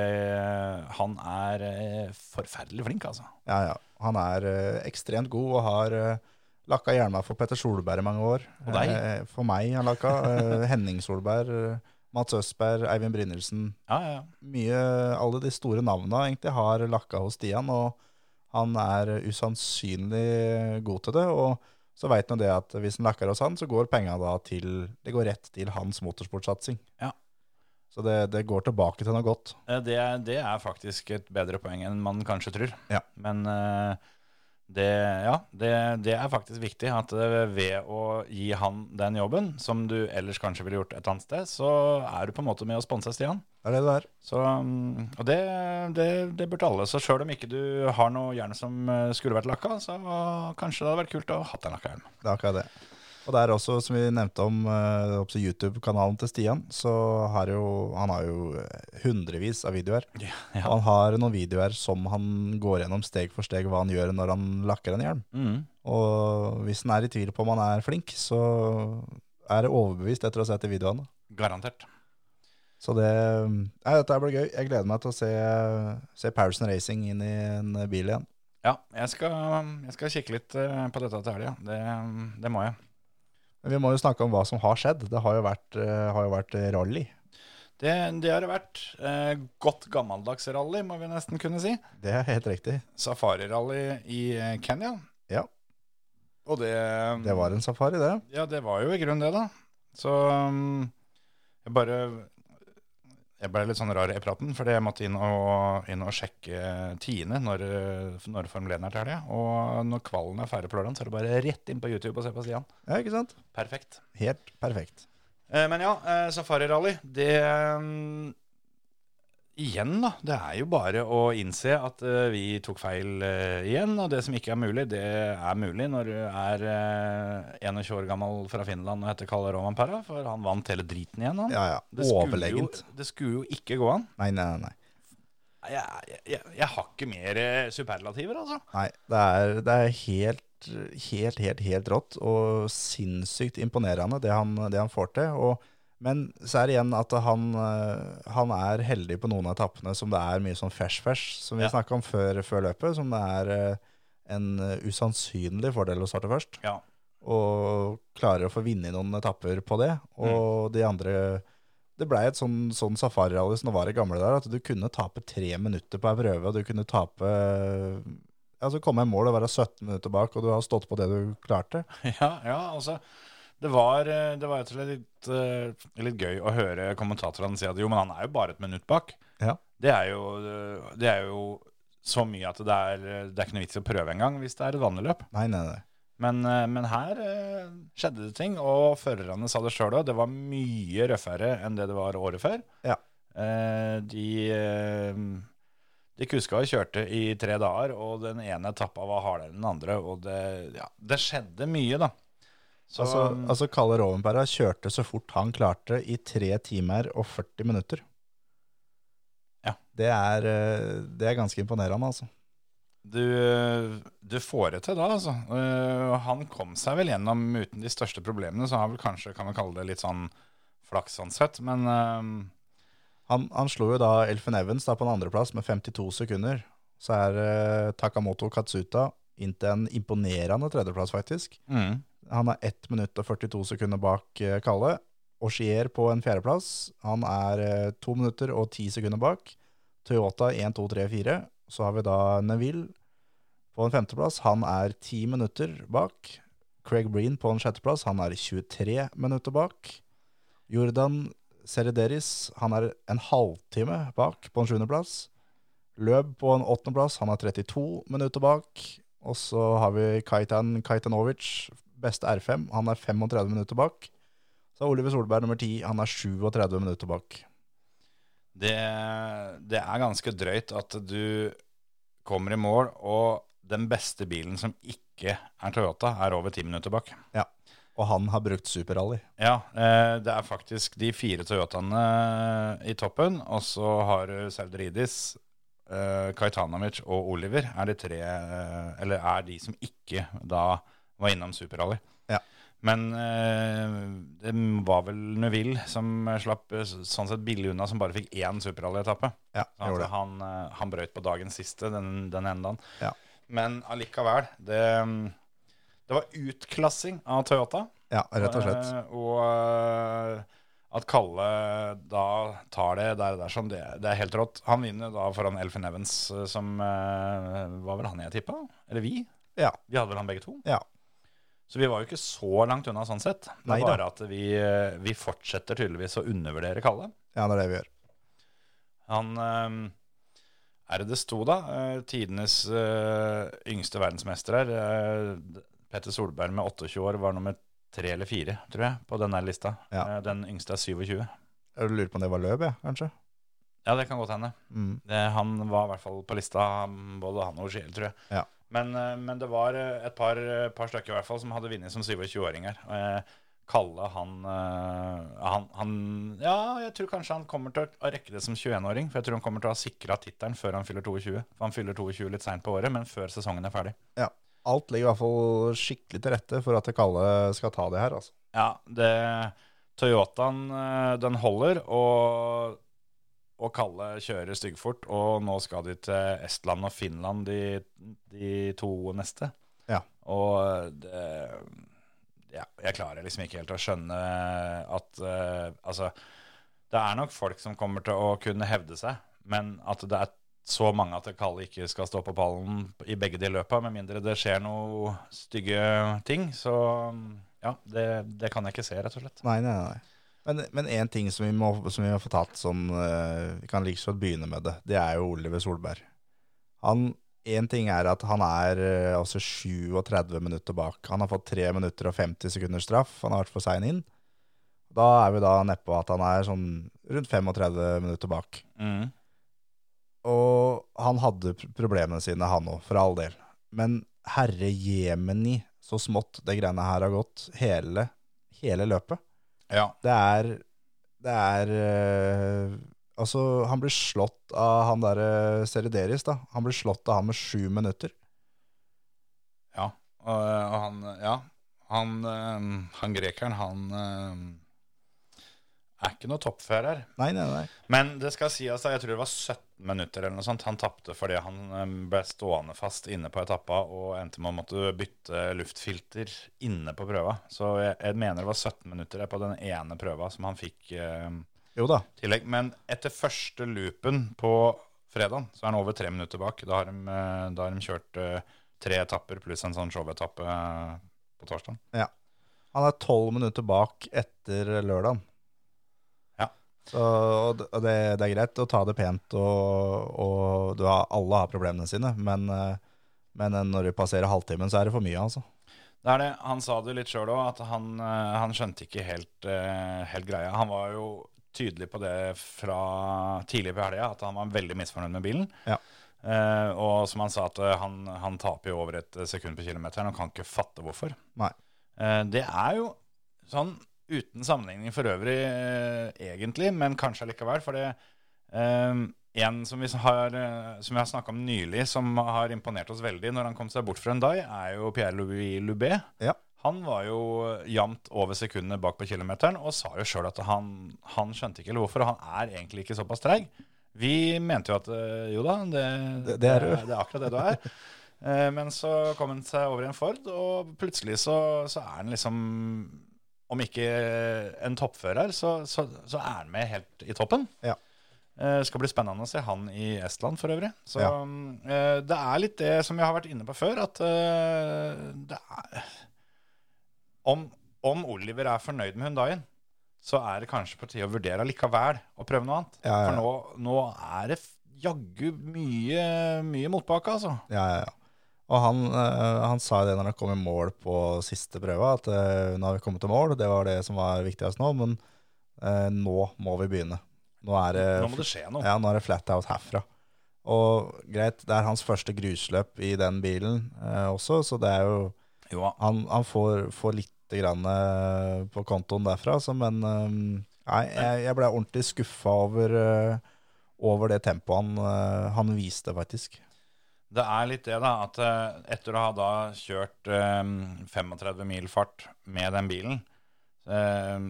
Speaker 3: han er eh, forferdelig flink, altså.
Speaker 4: Ja, ja. Han er eh, ekstremt god og har eh, lakka hjelma for Petter Solberg i mange år.
Speaker 3: Og deg.
Speaker 4: Eh, for meg han lakka. eh, Henning Solberg, eh, Mats Østberg, Eivind Brynildsen.
Speaker 3: Ja, ja, ja.
Speaker 4: mye, alle de store navnene egentlig har lakka hos Stian, og han er usannsynlig god til det. Og så veit en det at hvis en lakker hos han, så går penga da til Det går rett til hans motorsportsatsing.
Speaker 3: Ja.
Speaker 4: Så det, det går tilbake til noe godt.
Speaker 3: Eh, Det, er- det er faktisk et bedre poeng enn man kanskje tror.
Speaker 4: Ja.
Speaker 3: Men eh, det, ja, det, det er faktisk viktig at eh, ved å gi han den jobben, som du ellers kanskje ville gjort et annet sted, så er du på en måte med å sponse Stian.
Speaker 4: Det er det det er.
Speaker 3: Så, mm, og det, det, det burde alle. Så sjøl om ikke du har noe hjerne som eh, skulle vært lakka, så kanskje det hadde vært kult å ha hatt en lakka hjelm.
Speaker 4: Det er akkurat det. Og det er også, som vi nevnte om eh, oppså YouTube-kanalen til Stian, så har jo, han har jo eh, hundrevis av videoer. Og
Speaker 3: Ja.
Speaker 4: Han har noen videoer som han går gjennom steg for steg hva han gjør når han lakker en hjelm.
Speaker 3: Mm.
Speaker 4: Og hvis han er i tvil på om han er flink, så er det overbevist etter å ha sett de videoene.
Speaker 3: Garantert.
Speaker 4: Så det, nei, dette her blir gøy. Jeg gleder meg til å se, se Powerson Racing inn i en bil igjen.
Speaker 3: Ja, jeg skal, jeg skal kikke litt eh, på dette til helga. Det, det må jeg.
Speaker 4: Men vi må jo snakke om hva som har skjedd. Det har jo vært, eh, har jo vært rally.
Speaker 3: Det, det har det vært. Eh, godt gammeldags rally, må vi nesten kunne si.
Speaker 4: Det er helt riktig.
Speaker 3: Safarirally i eh, Kenya.
Speaker 4: Ja.
Speaker 3: Og det
Speaker 4: Det var en safari, det.
Speaker 3: Ja, det var jo i grunnen det, da. Så um, jeg bare Jeg ble litt sånn rar i praten, fordi jeg måtte inn og, inn og sjekke tidene når, eh, når Formel 1 er til helga. Og når kvalen er ferdig på lørdag, så er det bare rett inn på YouTube og se på Stian.
Speaker 4: Ja, ikke sant?
Speaker 3: Perfekt.
Speaker 4: Helt perfekt.
Speaker 3: Eh, Men ja, eh, safarirally, det mm, Igjen, da. Det er jo bare å innse at eh, vi tok feil eh, igjen. Og det som ikke er mulig, det er mulig når du er eh, 21 år gammel fra Finland og heter Kalle Romanpera, for han vant hele driten igjen, han.
Speaker 4: Ja, ja.
Speaker 3: Det skulle, jo,
Speaker 4: Overlegent.
Speaker 3: det skulle jo ikke gå an.
Speaker 4: Nei, nei, nei.
Speaker 3: Nei, Jeg, jeg, jeg, jeg har ikke mer eh, superlativer, altså.
Speaker 4: nei det, er, det er helt, helt, helt, helt rått og sinnssykt imponerende det han, det han får til. Og, men så er det igjen at han, eh, han er heldig på noen av etappene som det er mye sånn fersk-fersk, som vi
Speaker 3: Ja.
Speaker 4: snakket snakka om før, før løpet, som det er eh, en usannsynlig fordel å starte først.
Speaker 3: Ja.
Speaker 4: og klarer å få vinne i noen etapper på det.
Speaker 3: Mm.
Speaker 4: Og de andre Det blei et sånn, sånn safarirally som det var i gamle dager, at du kunne tape tre minutter på ei prøve, og du kunne tape Altså komme i mål og være 17 minutter bak, og du har stått på det du klarte.
Speaker 3: Ja, ja altså det var, eh, det var rett og slett litt, eh, litt gøy å høre kommentatorene si at jo, men han er jo bare et minutt bak.
Speaker 4: Ja.
Speaker 3: Det, er jo, eh, det er jo så mye at det er, eh, det er ikke noe vits i å prøve engang hvis det er et vanlig løp.
Speaker 4: Nei, nei, nei.
Speaker 3: Men, eh, men her eh, skjedde det ting, og førerne sa det sjøl òg. Det var mye røffere enn det det var året før.
Speaker 4: Ja.
Speaker 3: Eh, de eh, de kuska og kjørte i tre dager, og den ene etappa var hardere enn den andre. Og det, ja, det skjedde mye, da. Så- mm,
Speaker 4: altså, altså Kalle Rovenberga kjørte så fort han klarte i 3 timer og 40 minutter.
Speaker 3: Ja.
Speaker 4: Det er, eh, det er ganske imponerende, altså.
Speaker 3: Du, du får det til da, altså. Eh, han kom seg vel gjennom uten de største problemene, så han vel kanskje kan vi kalle det litt sånn flaks sånn sett, men eh,
Speaker 4: Han, han slo jo da Elfin Evans da på en andreplass med 52 sekunder. Så er eh, Takamoto Katsuta inn til en imponerende tredjeplass, faktisk.
Speaker 3: mm,
Speaker 4: Han er 1 minutt og 42 sekunder bak eh, Kalle. Oshier på en fjerdeplass. Han er eh, 2 minutter og 10 sekunder bak. Toyota 1, 2, 3, 4. Så har vi da Neville på en femteplass. Han er 10 minutter bak. Craig Breen på en sjetteplass. Han er 23 minutter bak. Jordan Serederis, han er en halvtime bak på en sjuendeplass. Løb på en åttendeplass, han er 32 minutter bak. Og så har vi Kaitan Kaitanovic, beste R5, han er 35 minutter bak. Så er Oliver Solberg nummer 10, han er 37 minutter bak.
Speaker 3: det, det er ganske drøyt at du kommer i mål, og den beste bilen som ikke er Toyota, er over ti minutter bak.
Speaker 4: Og han har brukt superrally.
Speaker 3: Ja, eh, det er faktisk de fire Toyotaene eh, i toppen, og så har du Sauderidis, eh, Kaitanovic og Oliver er de tre, eh, eller er de som ikke da var innom Superrally.
Speaker 4: Ja.
Speaker 3: Men eh, det var vel Neville som slapp eh, sånn sett billig unna, som bare fikk én Superrally-etappe.
Speaker 4: Ja,
Speaker 3: Sånn at
Speaker 4: gjorde det.
Speaker 3: Han, eh, han brøyt på dagens siste, den, den ene dagen.
Speaker 4: Ja.
Speaker 3: Men allikevel, det, det var utklassing av Toyota.
Speaker 4: Ja, rett og slett.
Speaker 3: Eh, Og eh, at Kalle da tar det der og der som det, det er helt rått. Han vinner da foran Elfin Evans, eh, som eh, var vel han jeg tippa? Eller vi?
Speaker 4: Ja.
Speaker 3: Vi hadde vel han begge to?
Speaker 4: Ja.
Speaker 3: Så vi var jo ikke så langt unna sånn sett. Det
Speaker 4: Nei
Speaker 3: er
Speaker 4: da.
Speaker 3: bare at vi, eh, vi fortsetter tydeligvis å undervurdere Kalle.
Speaker 4: Ja, det er det vi gjør.
Speaker 3: Han eh, er det det sto da? Eh, Tidenes eh, yngste verdensmester her. eh, Petter Solberg med 28 år var nummer tre eller fire, tror jeg, på denne lista.
Speaker 4: Ja.
Speaker 3: Eh, Den yngste er 27.
Speaker 4: Jeg lurer på om det var løp, jeg, kanskje.
Speaker 3: Ja, det kan godt hende.
Speaker 4: Mm.
Speaker 3: Det, Eh, han var i hvert fall på lista, han- både han og Schiel, tror jeg.
Speaker 4: Ja.
Speaker 3: Men, eh, men det var eh, et par, par stykker i hvert fall som hadde vunnet som 27-åringer. Eh, Kalle, han, eh, han, han Ja, jeg tror kanskje han kommer til å rekke det som 21-åring. For jeg tror han kommer til å ha sikra tittelen før han fyller 22. For han fyller 22 litt seint på året, men før sesongen er ferdig.
Speaker 4: Alt ligger i hvert fall skikkelig til rette for at Kalle skal ta det her, altså.
Speaker 3: Ja, det Toyotaen eh, den holder, og, og Kalle kjører styggfort. Og nå skal de til Estland og Finland, de, de to neste.
Speaker 4: Ja.
Speaker 3: Og det, ja, jeg klarer liksom ikke helt å skjønne at eh, Altså, det er nok folk som kommer til å kunne hevde seg, men at det er så mange at Kalle ikke skal stå på pallen i begge de løpa, med mindre det skjer noe stygge ting. Så ja, det, det kan jeg ikke se, rett og slett.
Speaker 4: Nei, nei, nei. Men- Men én ting som vi, må, som vi har fått tatt som eh, Vi kan like så godt begynne med det. Det er jo Oliver Solberg. Han, en ting er at han er eh, altså 37 minutter bak. Han har fått 3 minutter og 50 sekunder straff. Han har vært for sein inn. Da er vi da nedpå at han er sånn rundt 35 minutter bak.
Speaker 3: Mm.
Speaker 4: Og han hadde pr- problemene sine, han òg, for all del. Men herre jemeni, så smått det greiene her har gått hele, hele løpet.
Speaker 3: Ja.
Speaker 4: Det er Det er eh, Altså, han blir slått av han derre Serideris, da. Han blir slått av han med sju minutter.
Speaker 3: Ja, og, og han, ja, han, eh, han grekeren, han eh, er ikke noe toppfører.
Speaker 4: Nei, nei, nei.
Speaker 3: Men det skal sies, da, jeg tror det var 17 minutter eller noe sånt. Han tapte fordi han eh, ble stående fast inne på etappa og endte med å måtte bytte luftfilter inne på prøva. Så jeg, jeg mener det var 17 minutter på den ene prøva som han fikk eh,
Speaker 4: Jo da.
Speaker 3: tillegg. Men etter første loopen på fredagen, så er han over tre minutter bak. Da har de, eh, da har de kjørt eh, tre etapper pluss en sånn showetappe eh, på torsdag.
Speaker 4: Han er tolv minutter bak etter lørdagen.
Speaker 3: Ja.
Speaker 4: Så, og det, og det det er greit å ta det pent, og, og du har, alle har problemene sine, men, eh, men når du passerer halvtimen, så er det for mye, altså.
Speaker 3: Det er det. Han sa det litt sjøl òg, at han, eh, han skjønte ikke helt, eh, helt greia. Han var jo tydelig på det fra tidlig på helga, at han var veldig misfornøyd med bilen.
Speaker 4: Ja.
Speaker 3: Eh, og som han sa, at eh, han, han taper jo over et eh, sekund på kilometeren og kan ikke fatte hvorfor.
Speaker 4: Nei.
Speaker 3: Eh, det er jo sånn uten sammenligning for øvrig, eh, egentlig, men kanskje allikevel, for det eh, en som vi har, eh, som vi har snakka om nylig, som har imponert oss veldig når han kom seg bort fra Hyundai, er jo Pierre-Louis Loubet.
Speaker 4: Ja.
Speaker 3: Han var jo jevnt over sekundene bak på kilometeren og sa jo sjøl at han, han skjønte ikke hvorfor. og Han er egentlig ikke såpass treig. Vi mente jo at eh, jo da, det,
Speaker 4: Det- det er du.
Speaker 3: det er akkurat det du er. Eh, Men så kom han seg over i en Ford, og plutselig så, så er han liksom Om ikke en toppfører, så, så, så er han med helt i toppen.
Speaker 4: Ja.
Speaker 3: Eh, skal bli spennende å se han i Estland for øvrig. Så
Speaker 4: Ja.
Speaker 3: mm, eh, det er litt det som jeg har vært inne på før, at eh, det er om, om Oliver er fornøyd med Hundaien, så er det kanskje på tide å vurdere likevel å prøve noe annet.
Speaker 4: Ja, ja, ja.
Speaker 3: For nå, nå er det f- jaggu mye, mye motbakke, altså.
Speaker 4: Ja, ja, ja. Og han, eh, han sa jo det når han kom i mål på siste prøva, at eh, nå har vi kommet til mål, det var det som var viktigst nå, men eh, nå må vi begynne. Nå er det,
Speaker 3: Nå må det skje noe.
Speaker 4: ja, nå er det flat out herfra. Og greit, det er hans første grusløp i den bilen eh, også, så det er jo
Speaker 3: Jo,
Speaker 4: Han, han får, får litt grann, eh, på kontoen derfra, så, men eh, nei, jeg, jeg ble ordentlig skuffa over, eh, over det tempoet han, eh, han viste, faktisk.
Speaker 3: Det er litt det, da, at eh, etter å ha da kjørt eh, 35 mil fart med den bilen eh,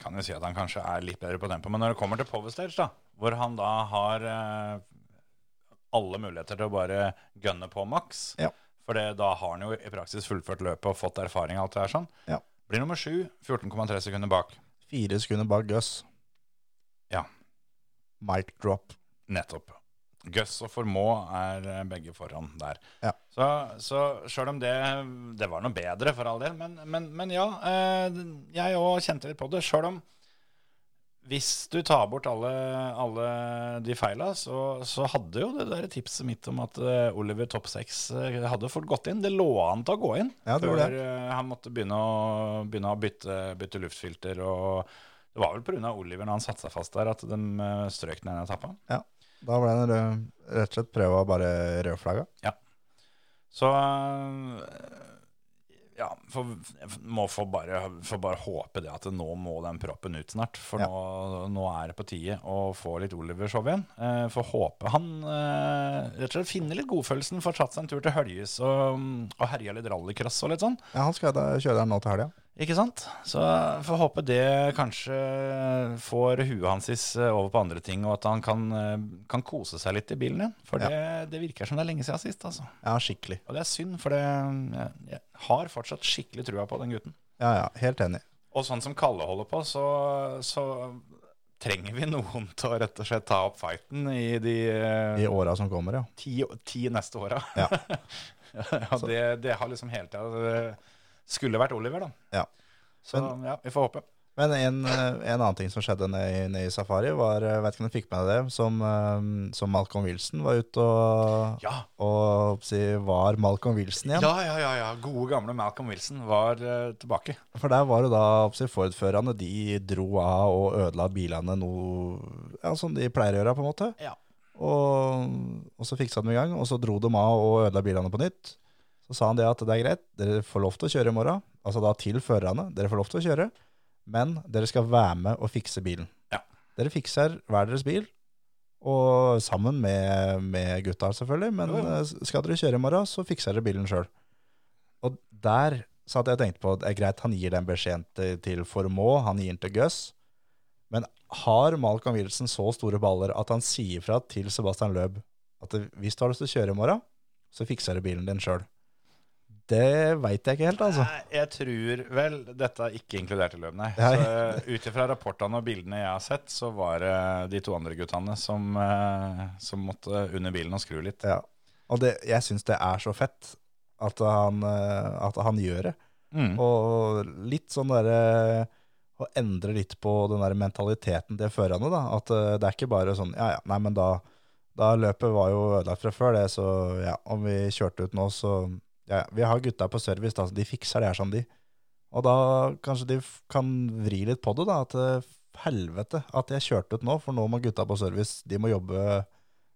Speaker 3: Kan jo si at han kanskje er litt bedre på tempo, men når det kommer til power stage, da, hvor han da har eh, alle muligheter til å bare gønne på maks
Speaker 4: Ja.
Speaker 3: For det, da har han jo i praksis fullført løpet og fått erfaring og alt det her sånn.
Speaker 4: Ja.
Speaker 3: Blir nummer sju, 14,3 sekunder bak.
Speaker 4: Fire sekunder bak Gus.
Speaker 3: Ja.
Speaker 4: Mic drop.
Speaker 3: Nettopp. Gus og Formå er eh, begge foran der.
Speaker 4: Ja.
Speaker 3: Så, så sjøl om det, det var noe bedre, for all del, men, men, men ja. Eh, jeg òg kjente litt på det. Sjøl om hvis du tar bort alle, alle de feila, så, så hadde jo det der tipset mitt om at eh, Oliver topp seks eh, hadde fort gått inn. Det lå an til å gå inn.
Speaker 4: Ja, det
Speaker 3: før
Speaker 4: gjorde
Speaker 3: eh, han måtte begynne å, begynne å bytte, bytte luftfilter. Og det var vel pga. Oliver når han satte seg fast der, at de eh, strøk den ene etappa.
Speaker 4: Da ble det eh, rett og slett prøve å bare rødflagge.
Speaker 3: Så øh, ja, for, må få bare, får bare håpe det at nå må den proppen ut snart. For
Speaker 4: Ja.
Speaker 3: nå, nå er det på tide å få litt Oliver-show igjen. Eh, får håpe han eh, rett og slett finner litt godfølelsen, får tatt seg en tur til Høljes og, og herja litt rallycross og litt sånn.
Speaker 4: Ja, han skal da kjøre der nå til helga.
Speaker 3: Ikke sant? Så eh, får håpe det kanskje får huet hans is- over på andre ting, og at han kan, eh, kan kose seg litt i bilen igjen. For
Speaker 4: Ja.
Speaker 3: det, det virker som det er lenge siden sist, altså.
Speaker 4: Ja, skikkelig.
Speaker 3: Og det er synd, for det, jeg, jeg har fortsatt skikkelig trua på den gutten.
Speaker 4: Ja, ja, helt enig.
Speaker 3: Og sånn som Kalle holder på, så, så trenger vi noen til å rett og slett ta opp fighten i de eh,
Speaker 4: I åra som kommer, ja.
Speaker 3: ti, ti neste åra.
Speaker 4: Ja.
Speaker 3: Ja, det, det har liksom hele tida Skulle vært Oliver, da.
Speaker 4: Ja.
Speaker 3: Så ja, vi får håpe.
Speaker 4: Men en, eh, en annen ting som skjedde nede i, nede i Safari, var eh, vet ikke om du fikk med deg det, som, eh, som Malcolm Wilson var ute og,
Speaker 3: Ja.
Speaker 4: og si, var Malcolm Wilson igjen.
Speaker 3: Ja, ja, ja, ja. Gode gamle Malcolm Wilson var eh, tilbake.
Speaker 4: For der var det da oppsi, Ford-førerne de dro av og ødela bilene noe ja, som de pleier å gjøre, på en måte.
Speaker 3: Ja.
Speaker 4: Og, og så fiksa de i gang, og så dro de av og ødela bilene på nytt. Så sa han det at det er greit, dere får lov til å kjøre i morgen. Altså da til førerne, dere får lov til å kjøre, men dere skal være med og fikse bilen.
Speaker 3: Ja.
Speaker 4: Dere fikser hver deres bil, og sammen med, med gutta selvfølgelig, men
Speaker 3: Jo, jo.
Speaker 4: eh, skal dere kjøre i morgen, så fikser dere bilen sjøl. Og der satt jeg og tenkte på at det er greit, han gir den beskjeden til, til Formå, han gir den til Gus. Men har Malcolm Wilson så store baller at han sier fra til Sebastian Løb at hvis du har lyst til å kjøre i morgen, så fikser du bilen din sjøl? Det veit jeg ikke helt, altså.
Speaker 3: Nei, jeg tror vel Dette er ikke inkludert i løp, nei.
Speaker 4: Nei.
Speaker 3: Så, eh, Ut ifra rapportene og bildene jeg har sett, så var det de to andre guttene som, eh, som måtte under bilen og skru litt.
Speaker 4: Ja. Og det, jeg syns det er så fett at han, eh, at han gjør det.
Speaker 3: Mm.
Speaker 4: Og litt sånn derre Å endre litt på den der mentaliteten til førerne, da. At eh, det er ikke bare sånn Ja, ja, nei, men da Da løpet var jo ødelagt fra før, det, så ja, om vi kjørte ut nå, så ja, ja, Vi har gutta på service, da, så de fikser det her som de. Og da kanskje de f- kan vri litt på det, da. At eh, helvete at jeg kjørte ut nå, for nå må gutta på service De må jobbe,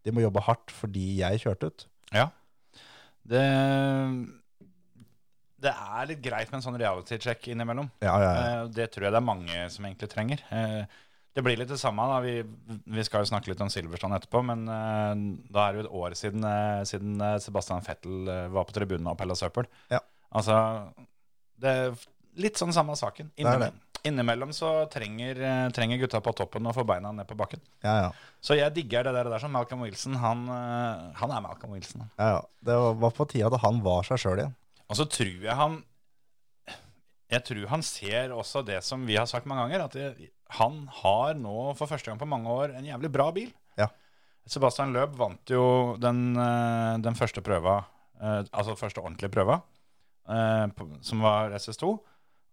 Speaker 4: de må jobbe hardt fordi jeg kjørte ut.
Speaker 3: Det, det er litt greit med en sånn reality check innimellom.
Speaker 4: Ja, ja, ja.
Speaker 3: Eh, Det tror jeg det er mange som egentlig trenger. Eh, Det blir litt det samme. da, Vi, vi skal jo snakke litt om Silverstrand etterpå, men eh, da er det jo et år siden, eh, siden eh, Sebastian Fettel eh, var på tribunen og pella søppel.
Speaker 4: Ja.
Speaker 3: Altså, det er litt sånn samme saken.
Speaker 4: er
Speaker 3: Innimellom, innimellom så trenger, eh, trenger gutta på toppen å få beina ned på bakken.
Speaker 4: ja, ja.
Speaker 3: Så jeg digger det der, det der som Malcolm Wilson. Han, eh, han er Malcolm Wilson. han.
Speaker 4: ja, ja. Det var- var på tide at han var seg sjøl igjen.
Speaker 3: Og så tror jeg han Jeg tror han ser også det som vi har sagt mange ganger, at det, han har nå for første gang på mange år en jævlig bra bil.
Speaker 4: Ja.
Speaker 3: Sebastian Løb vant jo den, eh, den første prøva, eh, altså første ordentlige prøva, eh, på- som var SS2.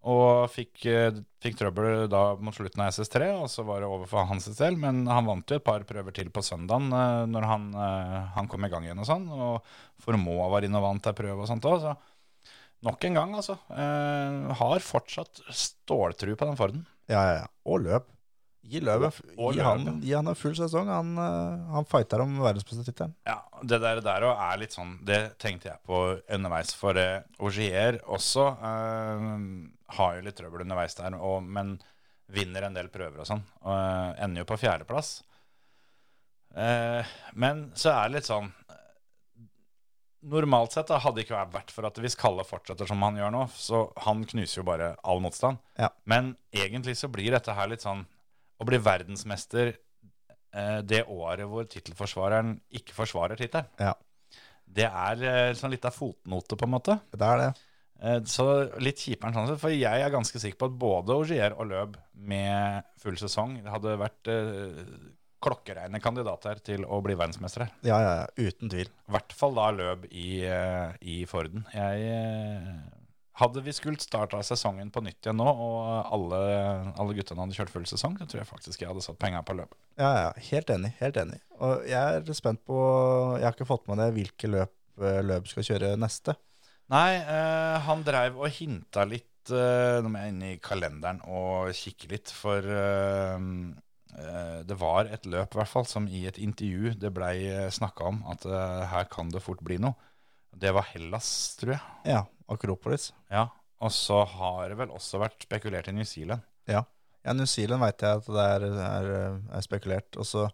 Speaker 3: Og fikk, eh, fikk trøbbel da mot slutten av SS3, og så var det over for hans del. Men han vant jo et par prøver til på søndagen eh, når han, eh, han kom i gang igjen og sånn. Og Formoa var inne og vant ei prøve og sånt òg, så Nok en gang, altså. Eh, har fortsatt ståltru på den Forden.
Speaker 4: Ja, ja, ja. Og løp. Gi løp.
Speaker 3: og
Speaker 4: gi,
Speaker 3: løp,
Speaker 4: han, gi han en full sesong. Han, eh, han fighter om verdensmestertittelen.
Speaker 3: Ja, Det der, der og er litt sånn Det tenkte jeg på underveis, for eh, Ogier også eh, har jo litt trøbbel underveis der, og, men vinner en del prøver og sånn. Og eh, ender jo på fjerdeplass. Eh, men så er det litt sånn Normalt sett da, hadde det ikke vært for at hvis Kalle fortsetter som han gjør nå, så han knuser jo bare all motstand.
Speaker 4: Ja.
Speaker 3: Men egentlig så blir dette her litt sånn Å bli verdensmester eh, det året hvor tittelforsvareren ikke forsvarer tittelen,
Speaker 4: Ja.
Speaker 3: det er eh, sånn litt av fotnote, på en måte.
Speaker 4: Det er det.
Speaker 3: Eh, Så litt kjipere enn sånn sett, for jeg er ganske sikker på at både Ogier og Løb med full sesong det hadde vært eh, klokkereine kandidater til å bli verdensmester her.
Speaker 4: Ja, ja, ja, uten tvil.
Speaker 3: I hvert fall da løp i, eh, i Forden. Jeg eh, Hadde vi skulle starta sesongen på nytt igjen nå, og alle, alle guttene hadde kjørt full sesong, så tror jeg faktisk jeg hadde satt penga på løp.
Speaker 4: Ja, ja, helt enig, helt enig. Og jeg er spent på, jeg har ikke fått med det hvilke løp eh, løp skal kjøre neste.
Speaker 3: Nei, eh, han dreiv og hinta litt eh, Nå må jeg inn i kalenderen og kikke litt, for eh, eh, det var et løp, i hvert fall, som i et intervju det blei snakka om at eh, her kan det fort bli noe. Det var Hellas, tror jeg.
Speaker 4: Ja, Akropolis.
Speaker 3: Ja. Og så har det vel også vært spekulert i New Zealand.
Speaker 4: Ja, New Zealand vet jeg at det er, er, eh, er spekulert. Og så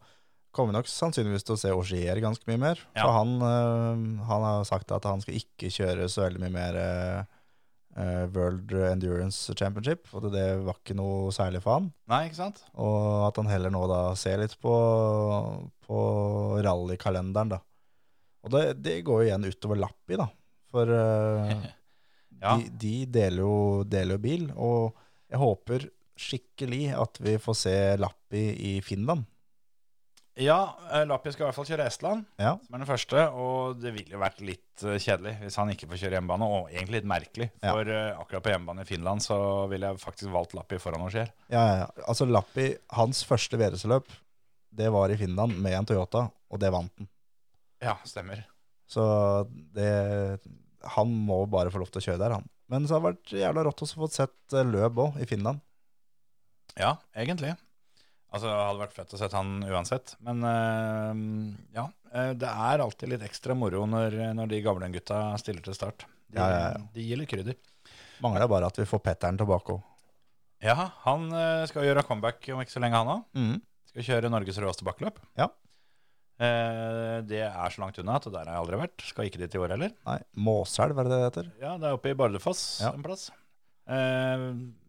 Speaker 4: kommer vi nok sannsynligvis til å se Augier ganske mye mer.
Speaker 3: Ja.
Speaker 4: For han, eh, han har sagt at han skal ikke kjøre så veldig mye mer eh, eh, World Endurance Championship, for det var ikke noe særlig for han.
Speaker 3: Nei, ikke sant?
Speaker 4: Og at han heller nå da ser litt på, på rallykalenderen, da. Og det, det går jo igjen utover Lappi, da. For eh,
Speaker 3: Ja.
Speaker 4: de, de deler, jo, deler jo bil, og jeg håper skikkelig at vi får se Lappi i Finland.
Speaker 3: ja eh, Lappi skal i hvert fall kjøre Estland,
Speaker 4: Ja,
Speaker 3: som er den første. Og det ville jo vært litt eh, kjedelig hvis han ikke får kjøre hjemmebane, og egentlig litt merkelig.
Speaker 4: Ja.
Speaker 3: For eh, akkurat på hjemmebane i Finland så ville jeg faktisk valgt Lappi foran Auger.
Speaker 4: ja, ja. Altså Lappi, hans første VRC-løp, det var i Finland med en Toyota, og det vant han.
Speaker 3: Ja, stemmer.
Speaker 4: Så det, han må bare få lov til å kjøre der, han. Men så har det vært jævla rått også å få sett eh, løp òg, i Finland.
Speaker 3: Ja, egentlig. Altså, det hadde vært fett å sett han uansett. Men eh, ja, eh, det er alltid litt ekstra moro når, når de gamle gutta stiller til start. De,
Speaker 4: Ja, ja, ja.
Speaker 3: de gir litt krydder.
Speaker 4: Mangler bare at vi får Petteren tilbake òg.
Speaker 3: Ja, han eh, skal gjøre comeback om ikke så lenge, han òg.
Speaker 4: Mm.
Speaker 3: Skal kjøre Norges råeste bakkeløp.
Speaker 4: Ja.
Speaker 3: Eh, det er så langt unna at der har jeg aldri vært. Skal ikke dit i år heller.
Speaker 4: Nei, Måselv, er det det det heter?
Speaker 3: Ja, det er oppe i Bardufoss
Speaker 4: Ja.
Speaker 3: en plass. Eh,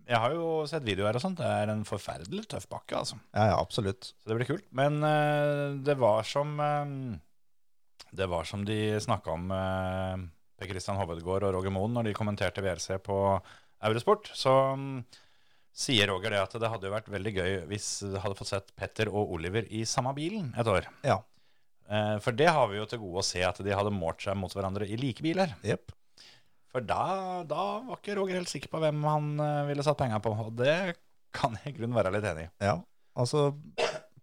Speaker 3: jeg har jo sett videoer og sånt. Det er en forferdelig tøff bakke, altså.
Speaker 4: Ja, ja, absolutt.
Speaker 3: Så det blir kult. Men eh, det var som eh, Det var som de snakka om eh, Per Christian Hovedgård og Roger Moen når de kommenterte WRC på Eurosport. Så mm, sier Roger det at det hadde jo vært veldig gøy hvis du hadde fått sett Petter og Oliver i samme bilen et år.
Speaker 4: Ja.
Speaker 3: Eh, For det har vi jo til gode å se at de hadde målt seg mot hverandre i like biler.
Speaker 4: Jepp.
Speaker 3: For da, da var ikke Roger helt sikker på hvem han eh, ville satt penger på. Og det kan jeg i grunnen være litt enig i.
Speaker 4: Ja. Altså,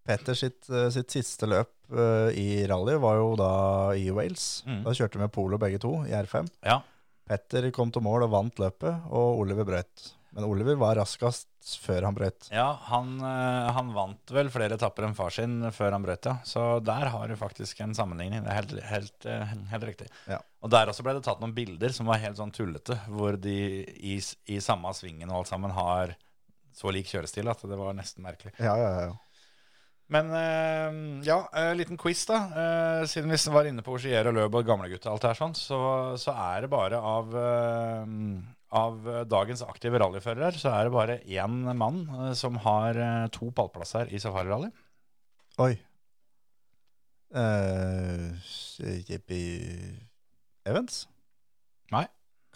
Speaker 4: Petter sitt, eh, sitt siste løp eh, i rally var jo da i Wales.
Speaker 3: Mm.
Speaker 4: Da kjørte vi polo begge to i R5.
Speaker 3: Ja.
Speaker 4: Petter kom til mål og vant løpet, og Oliver brøyt. Men Oliver var raskest før han brøyt.
Speaker 3: Ja, han, eh, han vant vel flere etapper enn far sin før han brøt, ja. Så der har du faktisk en sammenligning. Det er helt, helt, eh, helt riktig.
Speaker 4: Ja.
Speaker 3: Og der også ble det tatt noen bilder som var helt sånn tullete, hvor de i, s- i samme svingen og alt sammen har så lik kjørestil at det var nesten merkelig.
Speaker 4: Ja, ja, ja.
Speaker 3: Men eh, ja, eh, liten quiz da. Eh, siden vi var inne på Orsier og Løb og gamlegutta og alt det her sånn, så, så er det bare av, eh, av dagens aktive rallyførere, så er det bare én mann eh, som har eh, to pallplasser i safarirally.
Speaker 4: Oi. Eh, Jippi Evans?
Speaker 3: Nei.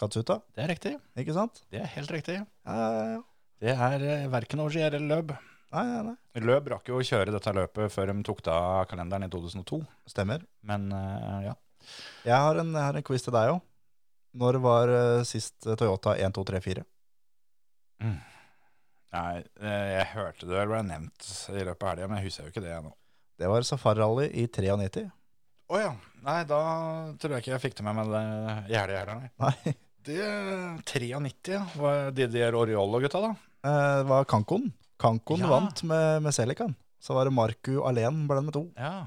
Speaker 4: Katsuta,
Speaker 3: Det er riktig.
Speaker 4: ikke sant?
Speaker 3: Det er helt riktig.
Speaker 4: Ja, ja, ja.
Speaker 3: Det er eh, verken Orsier eller Løb.
Speaker 4: Nei, nei, nei.
Speaker 3: Løb rakk jo å kjøre dette løpet før de tok det av kalenderen i 2002.
Speaker 4: Stemmer.
Speaker 3: Men eh, ja.
Speaker 4: Jeg har en, jeg har en quiz til deg òg. Når var eh, sist eh, Toyota 1, 2, 3, 4?
Speaker 3: Nei, eh, jeg hørte det vel ble nevnt i løpet av helga, men jeg husker jo ikke det ennå.
Speaker 4: Det var Safari Rally i 93.
Speaker 3: Å ja. Nei, da tror jeg ikke jeg fikk det med meg det i helga heller, nei.
Speaker 4: Nei, eh,
Speaker 3: Det 93 ja, var Didier Oriol og gutta, da.
Speaker 4: eh, det var Kankon. Kankon
Speaker 3: Ja.
Speaker 4: vant med, med Celican. Så var det Marku Alén blant med to.
Speaker 3: Ja,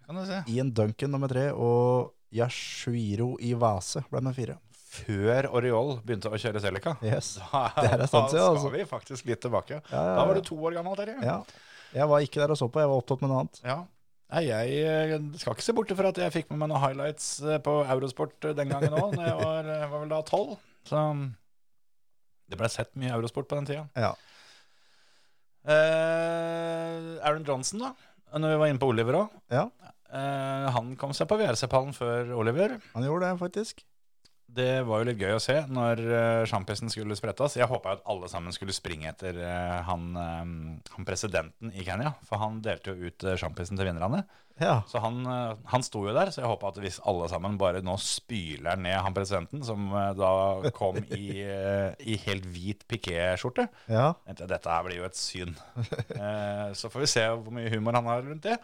Speaker 3: det kan du se.
Speaker 4: Ian Duncan nummer tre og Yashuiro Iwase ble med fire.
Speaker 3: Før Oriol begynte å kjøre Celica.
Speaker 4: Yes.
Speaker 3: Da,
Speaker 4: Det her er sant,
Speaker 3: da
Speaker 4: ja,
Speaker 3: skal
Speaker 4: altså.
Speaker 3: vi faktisk litt tilbake.
Speaker 4: Ja, ja,
Speaker 3: Da var
Speaker 4: ja.
Speaker 3: du to år gammel, Terje.
Speaker 4: Ja. Jeg var ikke der og så på, jeg var opptatt med noe annet.
Speaker 3: Ja. Nei, jeg eh, skal ikke se bort fra at jeg fikk med meg noen highlights eh, på Eurosport eh, den gangen òg. Jeg var, eh, var vel da tolv. Så mm, det ble sett mye Eurosport på den tida.
Speaker 4: Ja.
Speaker 3: Eh, Aaron Johnson, da. Når vi var inne på Oliver Eh, òg.
Speaker 4: Ja.
Speaker 3: han kom seg på VRC-pallen før Oliver.
Speaker 4: Han gjorde det, faktisk.
Speaker 3: Det var jo litt gøy å se når eh, sjampisen skulle sprettes. Jeg håpa at alle sammen skulle springe etter eh, han, eh, han presidenten i Kenya. For han delte jo ut eh, sjampisen til vinnerne.
Speaker 4: Ja.
Speaker 3: Så han, eh, han sto jo der, så jeg håpa at hvis alle sammen bare nå spyler ned han presidenten, som eh, da kom i, eh, i helt hvit pikéskjorte
Speaker 4: ja.
Speaker 3: tenkte jeg, Dette her blir jo et syn. Eh, så får vi se hvor mye humor han har rundt det.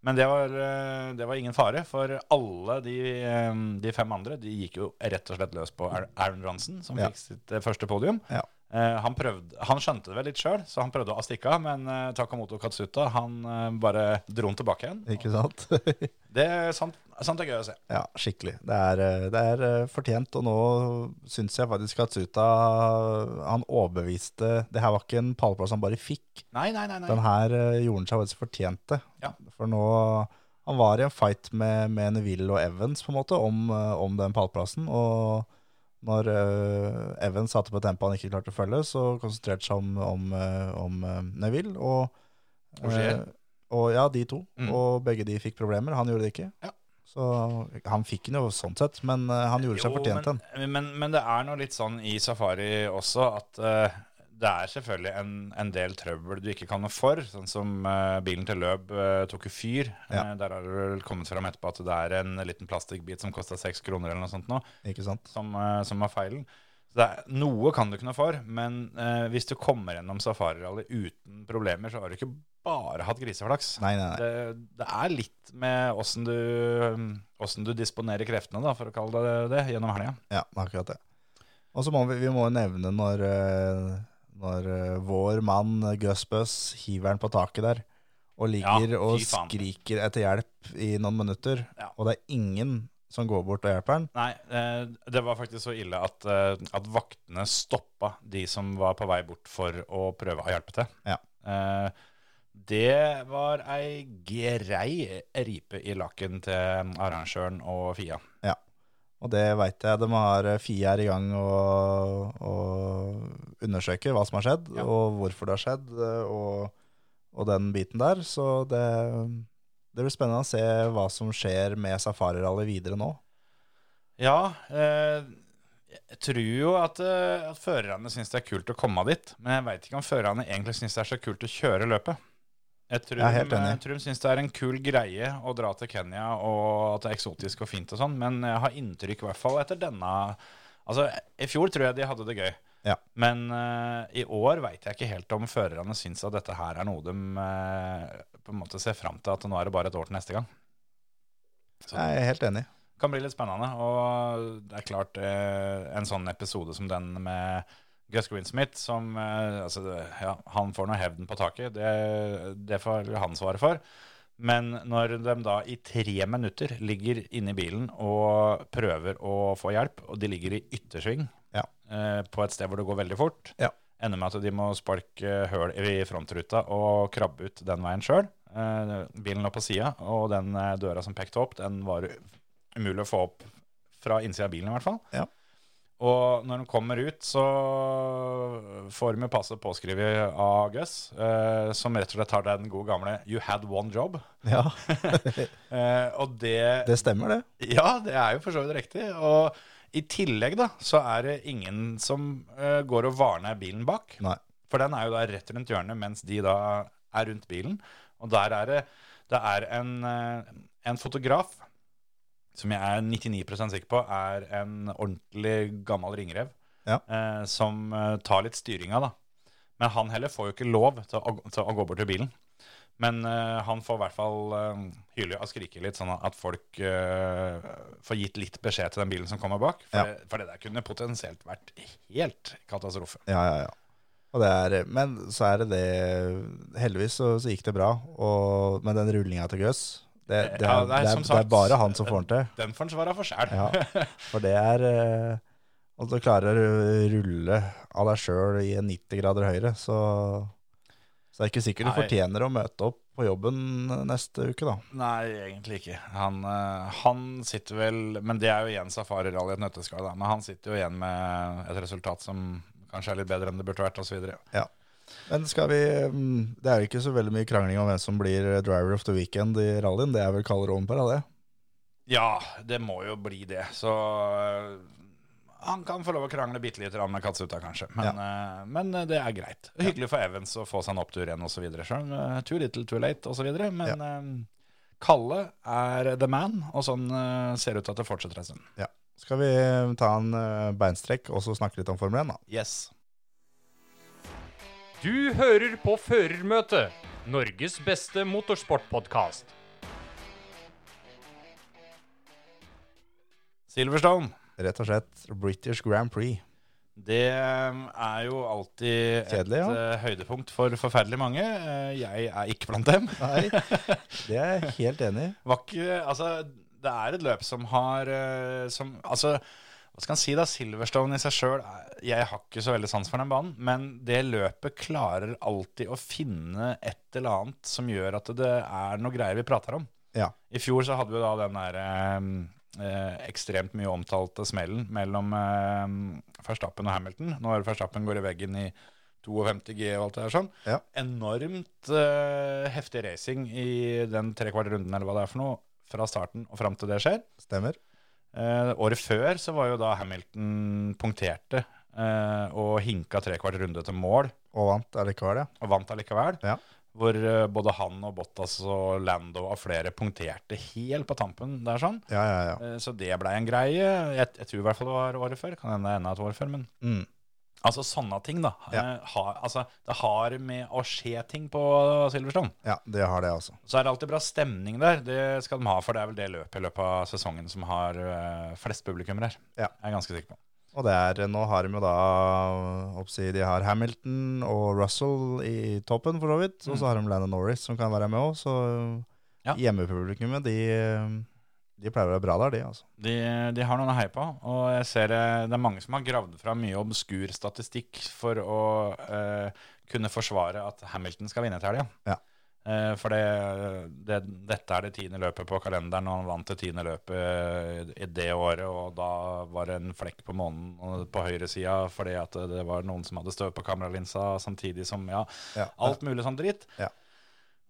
Speaker 3: Men det var, eh, det var ingen fare, for alle de, eh, de fem andre de gikk jo rett og slett løs på Ar- Aaron Johnson, som
Speaker 4: Ja.
Speaker 3: fikk sitt eh, første podium.
Speaker 4: Ja.
Speaker 3: Eh, han, prøvde, han skjønte det vel litt sjøl, så han prøvde å stikke av, men eh, Takamoto Katsuta han eh, bare dro han tilbake igjen.
Speaker 4: Ikke sant?
Speaker 3: Det er sant, sant er gøy å se.
Speaker 4: ja, skikkelig. Det er, eh, det er eh, fortjent, og nå syns jeg faktisk at Suta Han overbeviste Det her var ikke en pallplass han bare fikk.
Speaker 3: Nei, nei, nei. nei.
Speaker 4: Den her eh, gjorde han seg faktisk fortjent det.
Speaker 3: Ja.
Speaker 4: For nå Han var i en fight med, med Neville og Evans på en måte om, eh, om den pallplassen. Og når eh, Evans satte på tempoet han ikke klarte å følge, så konsentrerte seg om, om, eh, om eh, Neville. Og,
Speaker 3: Ogier.
Speaker 4: eh, og ja, de to.
Speaker 3: Mm.
Speaker 4: Og begge de fikk problemer. Han gjorde det ikke.
Speaker 3: Ja.
Speaker 4: Så han fikk den jo sånn sett, men eh, han gjorde seg
Speaker 3: Jo,
Speaker 4: fortjent den.
Speaker 3: Men, men, men det er noe litt sånn i safari også at eh, det er selvfølgelig en, en del trøbbel du ikke kan noe for. Sånn som eh, bilen til Løb eh, tok jo fyr.
Speaker 4: Ja.
Speaker 3: Eh, der har det vel kommet fram etterpå at det er en liten plastikkbit som kosta seks kroner eller noe sånt nå,
Speaker 4: Ikke sant?
Speaker 3: som, eh, som var feilen. Så det er, noe kan du ikke noe for, men eh, hvis du kommer gjennom safarirally uten problemer, så har du ikke bare hatt griseflaks.
Speaker 4: Nei, nei, nei.
Speaker 3: Det, det er litt med åssen du, hvordan du disponerer kreftene, da, for å kalle det det, gjennom helga.
Speaker 4: Ja, det er akkurat det. Og så må vi, vi må jo nevne når, eh, når eh, vår mann eh, Gøsbøs hiver den på taket der, og ligger
Speaker 3: Ja, fy
Speaker 4: og
Speaker 3: faen.
Speaker 4: skriker etter hjelp i noen minutter,
Speaker 3: Ja.
Speaker 4: og det er ingen som går bort og hjelper han.
Speaker 3: Nei, eh, det var faktisk så ille at, eh, at vaktene stoppa de som var på vei bort for å prøve å hjelpe til.
Speaker 4: Ja.
Speaker 3: Eh, Det var ei grei ripe i lakken til arrangøren og Fia.
Speaker 4: Og det veit jeg. De har eh, FIA er i gang og, og undersøker hva som har skjedd,
Speaker 3: Ja.
Speaker 4: og hvorfor det har skjedd, eh, og, og den biten der. Så det, det blir spennende å se hva som skjer med safarirally videre nå.
Speaker 3: Ja, eh, jeg tror jo at, eh, at førerne syns det er kult å komme dit, men jeg veit ikke om førerne egentlig syns det er så kult å kjøre løpet. Jeg tror,
Speaker 4: Jeg er helt
Speaker 3: de-
Speaker 4: enig.
Speaker 3: jeg tror de syns det er en kul greie å dra til Kenya, og at det er eksotisk og fint og sånn, men jeg har inntrykk, i hvert fall etter denne Altså, i fjor tror jeg de hadde det gøy.
Speaker 4: Ja.
Speaker 3: Men eh, i år veit jeg ikke helt om førerne syns at dette her er noe de eh, på en måte ser fram til, at nå er det bare et år til neste gang. Så-
Speaker 4: Jeg er helt enig.
Speaker 3: kan bli litt spennende. Og det er klart, eh, en sånn episode som den med Gus Greensmith, som eh, altså, det- ja, han får nå hevden på taket, det, det får han svare for. Men når de da i tre minutter ligger inne i bilen og prøver å få hjelp, og de ligger i yttersving
Speaker 4: Ja.
Speaker 3: eh, på et sted hvor det går veldig fort,
Speaker 4: Ja.
Speaker 3: ender med at de må sparke eh, høl i frontruta og krabbe ut den veien sjøl. Bilen lå på sida, og den eh, døra som pekte opp, den var umulig å få opp fra innsida av bilen i hvert fall.
Speaker 4: Ja.
Speaker 3: Og når de kommer ut, så får de jo passe påskrevet av Gus, eh, som rett og slett har den gode gamle 'You had one job'.
Speaker 4: Ja,
Speaker 3: Eh, og det,
Speaker 4: det stemmer det.
Speaker 3: Ja, det er jo for så vidt riktig. Og i tillegg da, så er det ingen som eh, går og varner bilen bak.
Speaker 4: Nei.
Speaker 3: For den er jo da rett rundt hjørnet, mens de da er rundt bilen. Og der er det, det er en, eh, en fotograf, som jeg er 99 sikker på, er en ordentlig gammel ringrev,
Speaker 4: Ja.
Speaker 3: eh, som eh, tar litt styringa, da. Men han heller får jo ikke lov til å, til å gå bort til bilen. Men eh, han får i hvert fall uh, hyle og skrike litt, sånn at folk eh, får gitt litt beskjed til den bilen som kommer bak. For,
Speaker 4: Ja.
Speaker 3: det, for det der kunne potensielt vært helt katastrofe.
Speaker 4: Ja, ja, ja. Og det er, men så er det det Heldigvis så, så gikk det bra, og, men den rullinga til Gøs det, det, er,
Speaker 3: Ja,
Speaker 4: det, er,
Speaker 3: som
Speaker 4: det
Speaker 3: sagt,
Speaker 4: er bare han som får den til.
Speaker 3: Den får han svare for sjæl.
Speaker 4: Ja. For det er eh, At du klarer å rulle av deg sjøl i en 90 grader høyre, så, så er det ikke sikkert du
Speaker 3: Nei.
Speaker 4: fortjener å møte opp på jobben neste uke, da.
Speaker 3: Nei, egentlig ikke. Han, eh, han sitter vel Men det er jo igjen safarirally i et nøtteskall, da. Men han sitter jo igjen med et resultat som kanskje er litt bedre enn det burde vært, osv.
Speaker 4: Men skal vi mm, Det er jo ikke så veldig mye krangling om hvem som blir driver of the weekend i rallyen. Det er vel Karl Rompera, det.
Speaker 3: Ja, det må jo bli det. Så eh, han kan få lov å krangle bitte litt med Katsuta, kanskje. Men, eh, men det er greit. Hyggelig for Evans å få seg en opptur igjen, osv. Sjøl. eh, Too little, too late, osv. Men eh, Kalle er the man, og sånn eh, ser det ut til at det fortsetter en stund.
Speaker 4: Skal vi ta en eh, beinstrekk og så snakke litt om Formel 1, da?
Speaker 3: Yes.
Speaker 6: Du hører på Førermøtet, Norges beste motorsportpodkast.
Speaker 3: Silverstone.
Speaker 4: Rett og slett British Grand Prix.
Speaker 3: Det ehm, er jo alltid
Speaker 4: Kjedelig, ja.
Speaker 3: et eh, høydepunkt for forferdelig mange. Eh, Jeg er ikke blant dem.
Speaker 4: Nei, det er jeg helt enig i.
Speaker 3: Var ikke, altså, det er et løp som har eh, som, Altså, hva skal en si da? Silverstone i seg sjøl Jeg har ikke så veldig sans for den banen, men det løpet klarer alltid å finne et eller annet som gjør at det er noe greier vi prater om.
Speaker 4: Ja.
Speaker 3: I fjor så hadde vi da den der eh, eh, ekstremt mye omtalte smellen mellom eh, Verstappen og Hamilton. Når Verstappen går i veggen i 52 G og alt det der sånn.
Speaker 4: Ja.
Speaker 3: Enormt eh, heftig racing i den trekvart runden eller hva det er for noe, fra starten og fram til det skjer.
Speaker 4: Stemmer.
Speaker 3: Eh, året før så var jo da Hamilton punkterte eh, og hinka trekvart runde til mål
Speaker 4: Og vant allikevel, ja.
Speaker 3: og vant allikevel.
Speaker 4: Ja.
Speaker 3: Hvor eh, både han og Bottas og Lando og flere punkterte helt på tampen der sånn.
Speaker 4: Ja, ja, ja.
Speaker 3: Eh, Så det blei en greie. Jeg, jeg tror i hvert fall det var året før. Kan hende enda et år før, men
Speaker 4: Mm.
Speaker 3: Altså sånne ting, da.
Speaker 4: Ja.
Speaker 3: Eh, Ha, altså, det har med å skje ting på Silverstone.
Speaker 4: Ja, det har det, altså.
Speaker 3: Så er det alltid bra stemning der. Det skal de ha, for det er vel det løpet i løpet av sesongen som har eh, flest publikummere her.
Speaker 4: Ja.
Speaker 3: Jeg er ganske sikker på.
Speaker 4: Og det er, nå har de jo da oppsi, De har Hamilton og Russell i toppen, for så vidt. Og så har de Landon Norris som kan være med òg, så
Speaker 3: Mm. Ja.
Speaker 4: hjemmepublikummet, de, de pleier å være bra der, de, altså.
Speaker 3: De, de har noen å heie på, og jeg ser eh, det er mange som har gravd fra mye obskur statistikk for å eh, kunne forsvare at Hamilton skal vinne til helga.
Speaker 4: Ja.
Speaker 3: Eh, for det, det, dette er det tiende løpet på kalenderen, og han vant det tiende løpet eh, i det året, og da var det en flekk på månen og på høyresida fordi at det var noen som hadde støv på kameralinsa samtidig som Ja,
Speaker 4: Ja.
Speaker 3: alt mulig sånn dritt.
Speaker 4: Ja.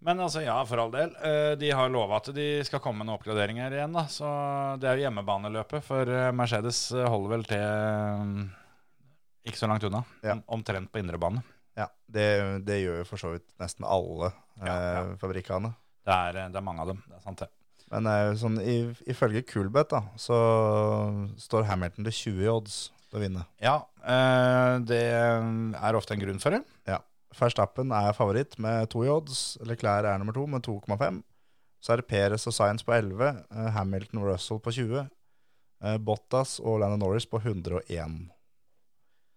Speaker 3: Men altså, ja, for all del. Eh, De har lova at de skal komme med noen oppgraderinger igjen. da, Så det er jo hjemmebaneløpet, for eh, Mercedes eh, holder vel til eh, ikke så langt unna.
Speaker 4: Ja.
Speaker 3: Om- Omtrent på indrebane.
Speaker 4: Ja, det, det gjør jo for så vidt nesten alle
Speaker 3: Ja,
Speaker 4: eh, fabrikkene.
Speaker 3: Det er, eh, det er mange av dem. Det er sant, det.
Speaker 4: Men eh, sånn, i, ifølge Coolbet da, så står Hamilton til 20 i odds til å vinne.
Speaker 3: Ja, eh, det eh, er ofte en grunn for det.
Speaker 4: Verstappen er favoritt med 2 i odds. Leclerc er nummer 2 med 2,5. Så er det Perez og Sainz på 11. eh, Hamilton og Russell på 20. eh, Bottas og Landon Norris på 101.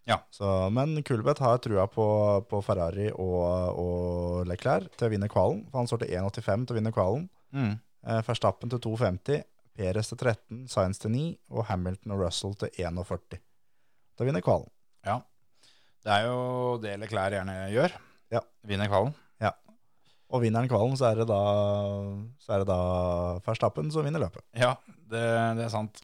Speaker 3: Ja.
Speaker 4: Så, men Kulbeth har trua på, på Ferrari og, og Leclerc til å vinne kvalen. For han står til 1,85 til å vinne kvalen.
Speaker 3: Mm.
Speaker 4: Eh, Verstappen til 2,50, Perez til 13, Sainz til 9 og Hamilton og Russell til 41. Da vinner kvalen.
Speaker 3: Ja. Det er jo det Leclerc gjerne gjør.
Speaker 4: Ja.
Speaker 3: Vinner kvalen.
Speaker 4: Og vinner han kvalen, så er det da, så er det da Verstappen som vinner løpet.
Speaker 3: Ja, det, det er sant.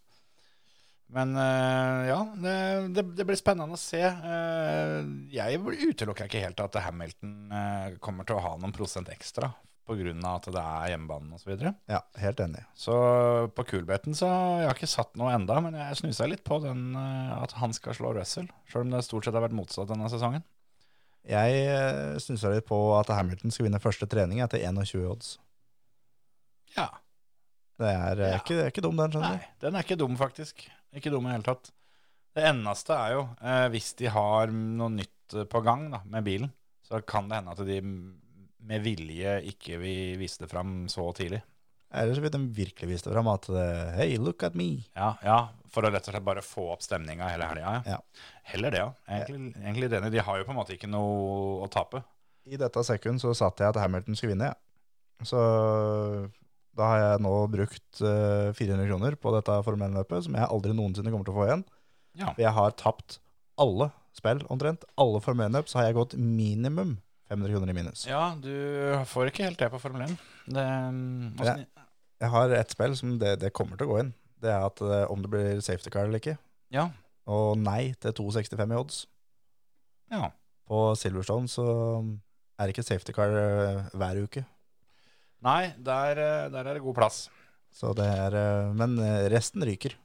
Speaker 3: Men eh, ja, det, det, det blir spennende å se. Eh, jeg utelukker ikke helt at Hamilton eh, kommer til å ha noen prosent ekstra pga. at det er hjemmebanen osv. Så, videre.
Speaker 4: Ja, helt enig.
Speaker 3: så på kulbeten så Jeg har ikke satt noe enda, men jeg snusa litt på den eh, at han skal slå Russell. Sjøl om det stort sett har vært motsatt denne sesongen.
Speaker 4: Jeg eh, snuser litt på at Hamilton skal vinne første trening etter 21 odds.
Speaker 3: Ja,
Speaker 4: Det er, eh,
Speaker 3: Ja.
Speaker 4: ikke, det er ikke dum, den, skjønner du.
Speaker 3: Nei, den er ikke dum, faktisk. Ikke dum i det hele tatt. Det eneste er jo eh, hvis de har noe nytt eh, på gang da, med bilen, så kan det hende at de med vilje ikke vil vise det fram så tidlig.
Speaker 4: Ellers vil de virkelig vise det fram at eh, Hey, look at me.
Speaker 3: Ja, ja for å rett og slett bare få opp stemninga hele helga.
Speaker 4: Ja.
Speaker 3: Heller det, ja. Egentlig, egentlig det. De har jo på en måte ikke noe å tape.
Speaker 4: I dette sekund så satt jeg at Hamilton skulle vinne, jeg. Så da har jeg nå brukt eh, 400 kroner på dette Formel 1-løpet, som jeg aldri noensinne kommer til å få igjen.
Speaker 3: Ja.
Speaker 4: For jeg har tapt alle spill, omtrent. Alle Formel 1-løp, så har jeg gått minimum 500 kroner i minus.
Speaker 3: Ja, du får ikke helt det på Formel 1. Det, mm,
Speaker 4: åssen- Jeg har ett spill som det, det kommer til å gå inn. Det er at eh, om det blir safety car eller ikke.
Speaker 3: Ja.
Speaker 4: Og nei til 2,65 i odds.
Speaker 3: Ja.
Speaker 4: På Silverstone så er det ikke safety car eh, hver uke.
Speaker 3: Nei, der, eh, der er det god plass.
Speaker 4: Så det er, eh, men eh, resten ryker.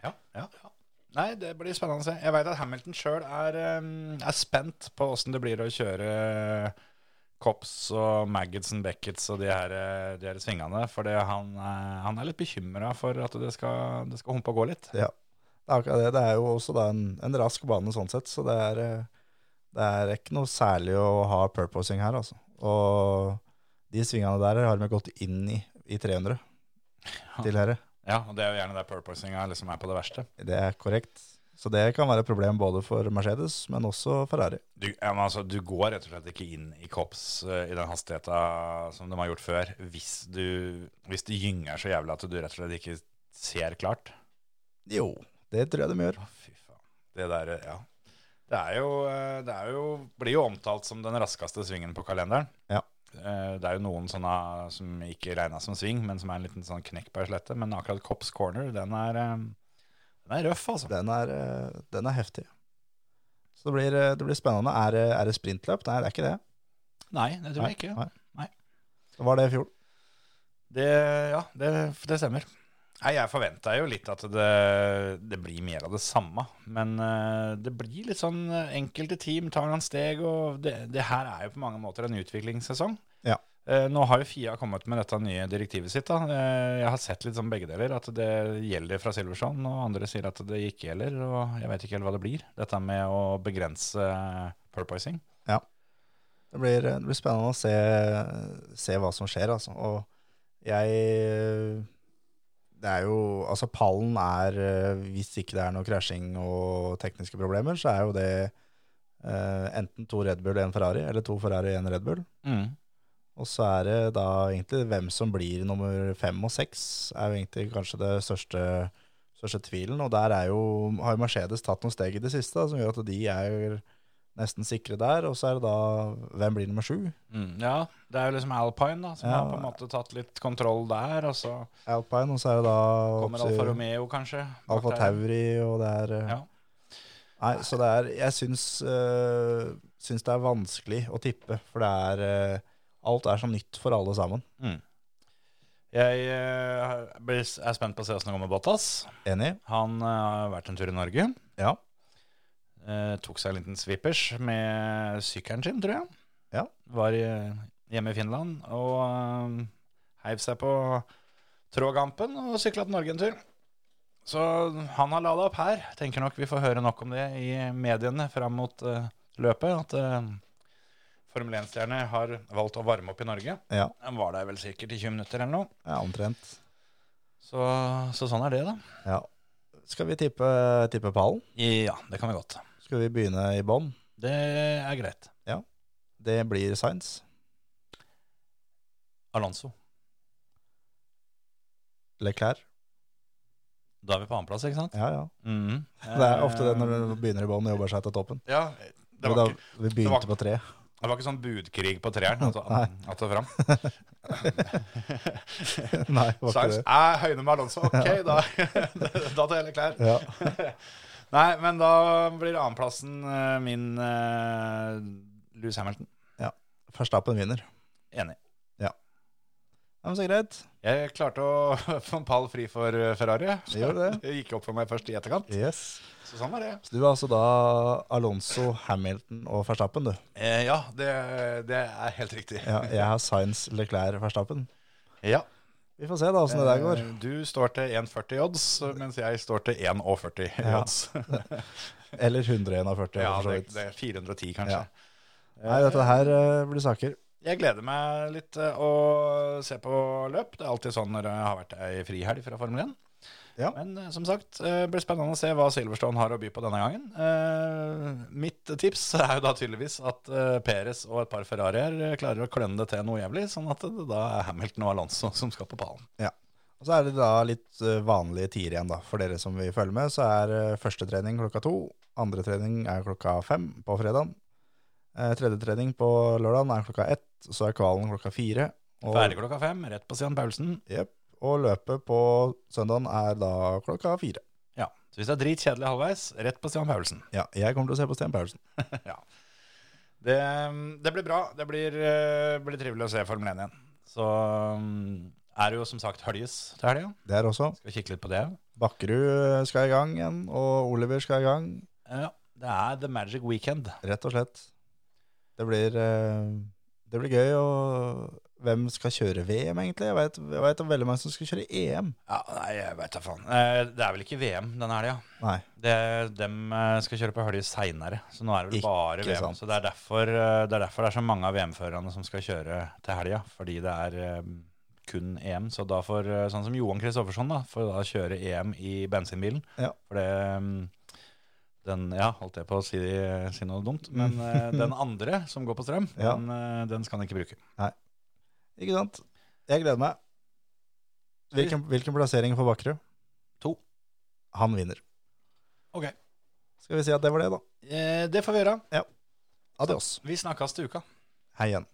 Speaker 3: Ja, ja, ja. Nei, det blir spennende å se. Jeg veit at Hamilton sjøl er, eh, er spent på åssen det blir å kjøre eh, Cops og Maggots and Beckets og de her, eh, de her svingene. For han, er- han er litt bekymra for at det skal, det skal humpe og gå litt.
Speaker 4: Ja, det er akkurat det. Det er jo også da en, en rask bane sånn sett, så det er, eh, det er ikke noe særlig å ha purposing her, altså. Og de svingene der har de gått inn i, i 300 tidligere.
Speaker 3: Ja, og Det er jo gjerne der purposinga liksom er på det verste.
Speaker 4: Det er korrekt. Så det kan være et problem både for Mercedes, men også Ferrari.
Speaker 3: Du, ja, men altså, du går rett og slett ikke inn i Cops eh, i den hastigheta som de har gjort før, hvis, du, hvis det gynger så jævlig at du rett og slett ikke ser klart.
Speaker 4: Jo, det tror jeg de gjør.
Speaker 3: Å, fy faen. Det der, ja. Det er jo, eh, det er jo blir jo omtalt som den raskeste svingen på kalenderen.
Speaker 4: Ja.
Speaker 3: Eh, Det er jo noen sånne som ikke regnes som sving, men som er en liten sånn knekk på ei slette. Men akkurat Cops Corner, den er, eh, den er røff, altså.
Speaker 4: Den er, eh, den er heftig. Så det blir, eh, det blir spennende. Er, det- er det sprintløp? Nei, det er ikke det.
Speaker 3: Nei, det tror jeg ikke.
Speaker 4: Nei. Det var det i fjor.
Speaker 3: Det, ja, det, det stemmer. Nei, Jeg forventa jo litt at det, det blir mer av det samme. Men eh, det blir litt sånn eh, enkelte team tar noen steg, og det, det her er jo på mange måter en utviklingssesong.
Speaker 4: Ja.
Speaker 3: Eh, nå har jo Fia kommet med dette nye direktivet sitt. da. Eh, jeg har sett litt sånn begge deler, at det gjelder fra Silverson, og andre sier at det ikke gjelder. Og jeg vet ikke helt hva det blir, dette med å begrense purposing.
Speaker 4: Det blir, det blir spennende å se, se hva som skjer, altså. Og jeg Det er jo Altså, pallen er eh, Hvis ikke det er noe krasjing og tekniske problemer, så er jo det eh, enten to Red Bull og én Ferrari, eller to Ferrari og én Red Bull.
Speaker 3: Mm.
Speaker 4: Og så er det da egentlig hvem som blir nummer fem og seks, er jo egentlig kanskje det største, største tvilen. Og der er jo, har jo Mercedes tatt noen steg i det siste, da, som gjør at de er nesten sikre der. Og så er det da hvem blir nummer sju?
Speaker 3: Mm, ja, det er jo liksom Alpine da, som
Speaker 4: Ja.
Speaker 3: har på en måte tatt litt kontroll der, og så
Speaker 4: Alpine, og så er det da
Speaker 3: kommer Alfa Romeo kanskje. bak
Speaker 4: Alfa
Speaker 3: der.
Speaker 4: Tauri, og det er eh,
Speaker 3: Ja.
Speaker 4: Nei, så det er Jeg syns, øh, syns det er vanskelig å tippe, for det er øh, Alt er så nytt for alle sammen.
Speaker 3: Jeg eh, blir- er spent på å se hvordan det går med Bottas.
Speaker 4: Enig?
Speaker 3: Han eh, har vært en tur i Norge.
Speaker 4: Ja.
Speaker 3: Eh, tok seg en liten swippers med sykkelen sin, tror jeg.
Speaker 4: Ja.
Speaker 3: Var i, eh, hjemme i Finland og eh, heiv seg på trågampen og sykla til Norge en tur. Så han har lada opp her. Tenker nok vi får høre nok om det i mediene fram mot eh, løpet. At eh, Formel 1-stjerne har valgt å varme opp i Norge.
Speaker 4: Ja,
Speaker 3: Han var der vel sikkert i 20 minutter eller noe.
Speaker 4: ja omtrent.
Speaker 3: Så, så sånn er det, da.
Speaker 4: Ja. Skal vi tippe, tippe pallen?
Speaker 3: Ja, det kan vi godt.
Speaker 4: Skal vi begynne i bånn?
Speaker 3: Det er greit.
Speaker 4: Det blir Sainz.
Speaker 3: Alonso.
Speaker 4: Leclerc.
Speaker 3: Da er vi på annenplass, ikke sant?
Speaker 4: Ja, ja.
Speaker 3: Mhm.
Speaker 4: Det er ofte det når du begynner i bånn og jobber seg til toppen.
Speaker 3: Ja, det
Speaker 4: Men
Speaker 3: var,
Speaker 4: da,
Speaker 3: ikke, det
Speaker 4: vi
Speaker 3: var
Speaker 4: begynte
Speaker 3: ikke-
Speaker 4: på tre.
Speaker 3: det var ikke sånn budkrig på treeren. Altså,
Speaker 4: Nei.
Speaker 3: at det fram.
Speaker 4: Nei, det var
Speaker 3: Sainz
Speaker 4: ikke det.
Speaker 3: er høyne med Alonso. Ok, da, da tar jeg hele klær.
Speaker 4: Ja.
Speaker 3: Nei, men da blir annenplassen eh, min uh, Louis Hamilton.
Speaker 4: Verstappen vinner.
Speaker 3: Enig.
Speaker 4: Ja, men så greit.
Speaker 3: Jeg klarte å få en pall fri for eh, Ferrari.
Speaker 4: Vi gjorde det.
Speaker 3: Det gikk opp for meg først i etterkant.
Speaker 4: Yes.
Speaker 3: Så sånn var det.
Speaker 4: Så du er altså da Alonso, Hamilton og Verstappen, du.
Speaker 3: Eh, ja, det, det er helt riktig.
Speaker 4: Ja, jeg har Sainz, Leclerc, Verstappen.
Speaker 3: Ja.
Speaker 4: Vi får se da åssen det der går.
Speaker 3: Eh, Du står til 1,40 odds, mens jeg står til 1,40
Speaker 4: Ja.
Speaker 3: odds.
Speaker 4: Eller 141,
Speaker 3: Eh, Ja,
Speaker 4: for så
Speaker 3: det,
Speaker 4: vidt.
Speaker 3: det er 410 kanskje.
Speaker 4: Ja. Nei, dette her eh, blir saker.
Speaker 3: Jeg gleder meg litt eh, å se på løp. Det er alltid sånn når det har vært ei frihelg fra Formel 1.
Speaker 4: Ja.
Speaker 3: Men eh, som sagt, eh, det blir spennende å se hva Silverstone har å by på denne gangen. Eh, Mitt tips er jo da tydeligvis at eh, Perez og et par Ferrarier eh, klarer å klønne det til noe jævlig, sånn at det da er Hamilton og Alonso som skal på pallen.
Speaker 4: Og så er det da litt eh, vanlige tider igjen, da. For dere som vil følge med, så er eh, første trening klokka to. Andre trening er klokka fem på fredagen. Eh, Tredje trening på lørdagen er klokka ett. Så er kvalen klokka fire. Og,
Speaker 3: Ferdig klokka fem, rett på Stian Paulsen.
Speaker 4: Jep. og løpet på søndagen er da klokka fire.
Speaker 3: Ja. Så hvis det er dritkjedelig halvveis, rett på Stian Paulsen.
Speaker 4: Ja, jeg kommer til å se på Sten Paulsen.
Speaker 3: Det, det blir bra. Det blir, eh, blir trivelig å se Formel 1 igjen. Så mm, er det jo som sagt Høljes til helga.
Speaker 4: Det er også.
Speaker 3: Skal kikke litt på det.
Speaker 4: Bakkerud eh, skal i gang igjen, og Oliver skal i gang.
Speaker 3: Ja, det er The Magic Weekend.
Speaker 4: Rett og slett. Det blir, eh, det blir gøy. Og hvem skal kjøre VM, egentlig? Jeg vet, jeg vet om veldig mange som skal kjøre E EM.
Speaker 3: Ja, nei, jeg vet da faen. Eh, Det er vel ikke VM denne helga.
Speaker 4: Nei.
Speaker 3: Det- Dem eh, skal kjøre på Hølje seinere, så nå er det vel
Speaker 4: Ikke
Speaker 3: bare VM.
Speaker 4: sant.
Speaker 3: Så det er, derfor, eh, det er derfor det er så mange av VM-førerne som skal kjøre til helga, fordi det er eh, kun EM. Så da får eh, sånn som Johan Kristoffersson, da, får da kjøre EM i bensinbilen.
Speaker 4: Ja.
Speaker 3: For det mm, den, Ja, holdt jeg på å si, si noe dumt, men eh, den andre som går på strøm,
Speaker 4: Ja.
Speaker 3: den, eh, den skal han ikke bruke.
Speaker 4: Ikke sant? Jeg gleder meg. Hvilken, hvilken plassering får Bakkerud?
Speaker 3: To.
Speaker 4: Han vinner.
Speaker 3: Ok.
Speaker 4: Skal vi si at det var det, da.
Speaker 3: Eh, Det får vi gjøre.
Speaker 4: Adios.
Speaker 3: Vi snakkes til uka.
Speaker 4: Hei igjen.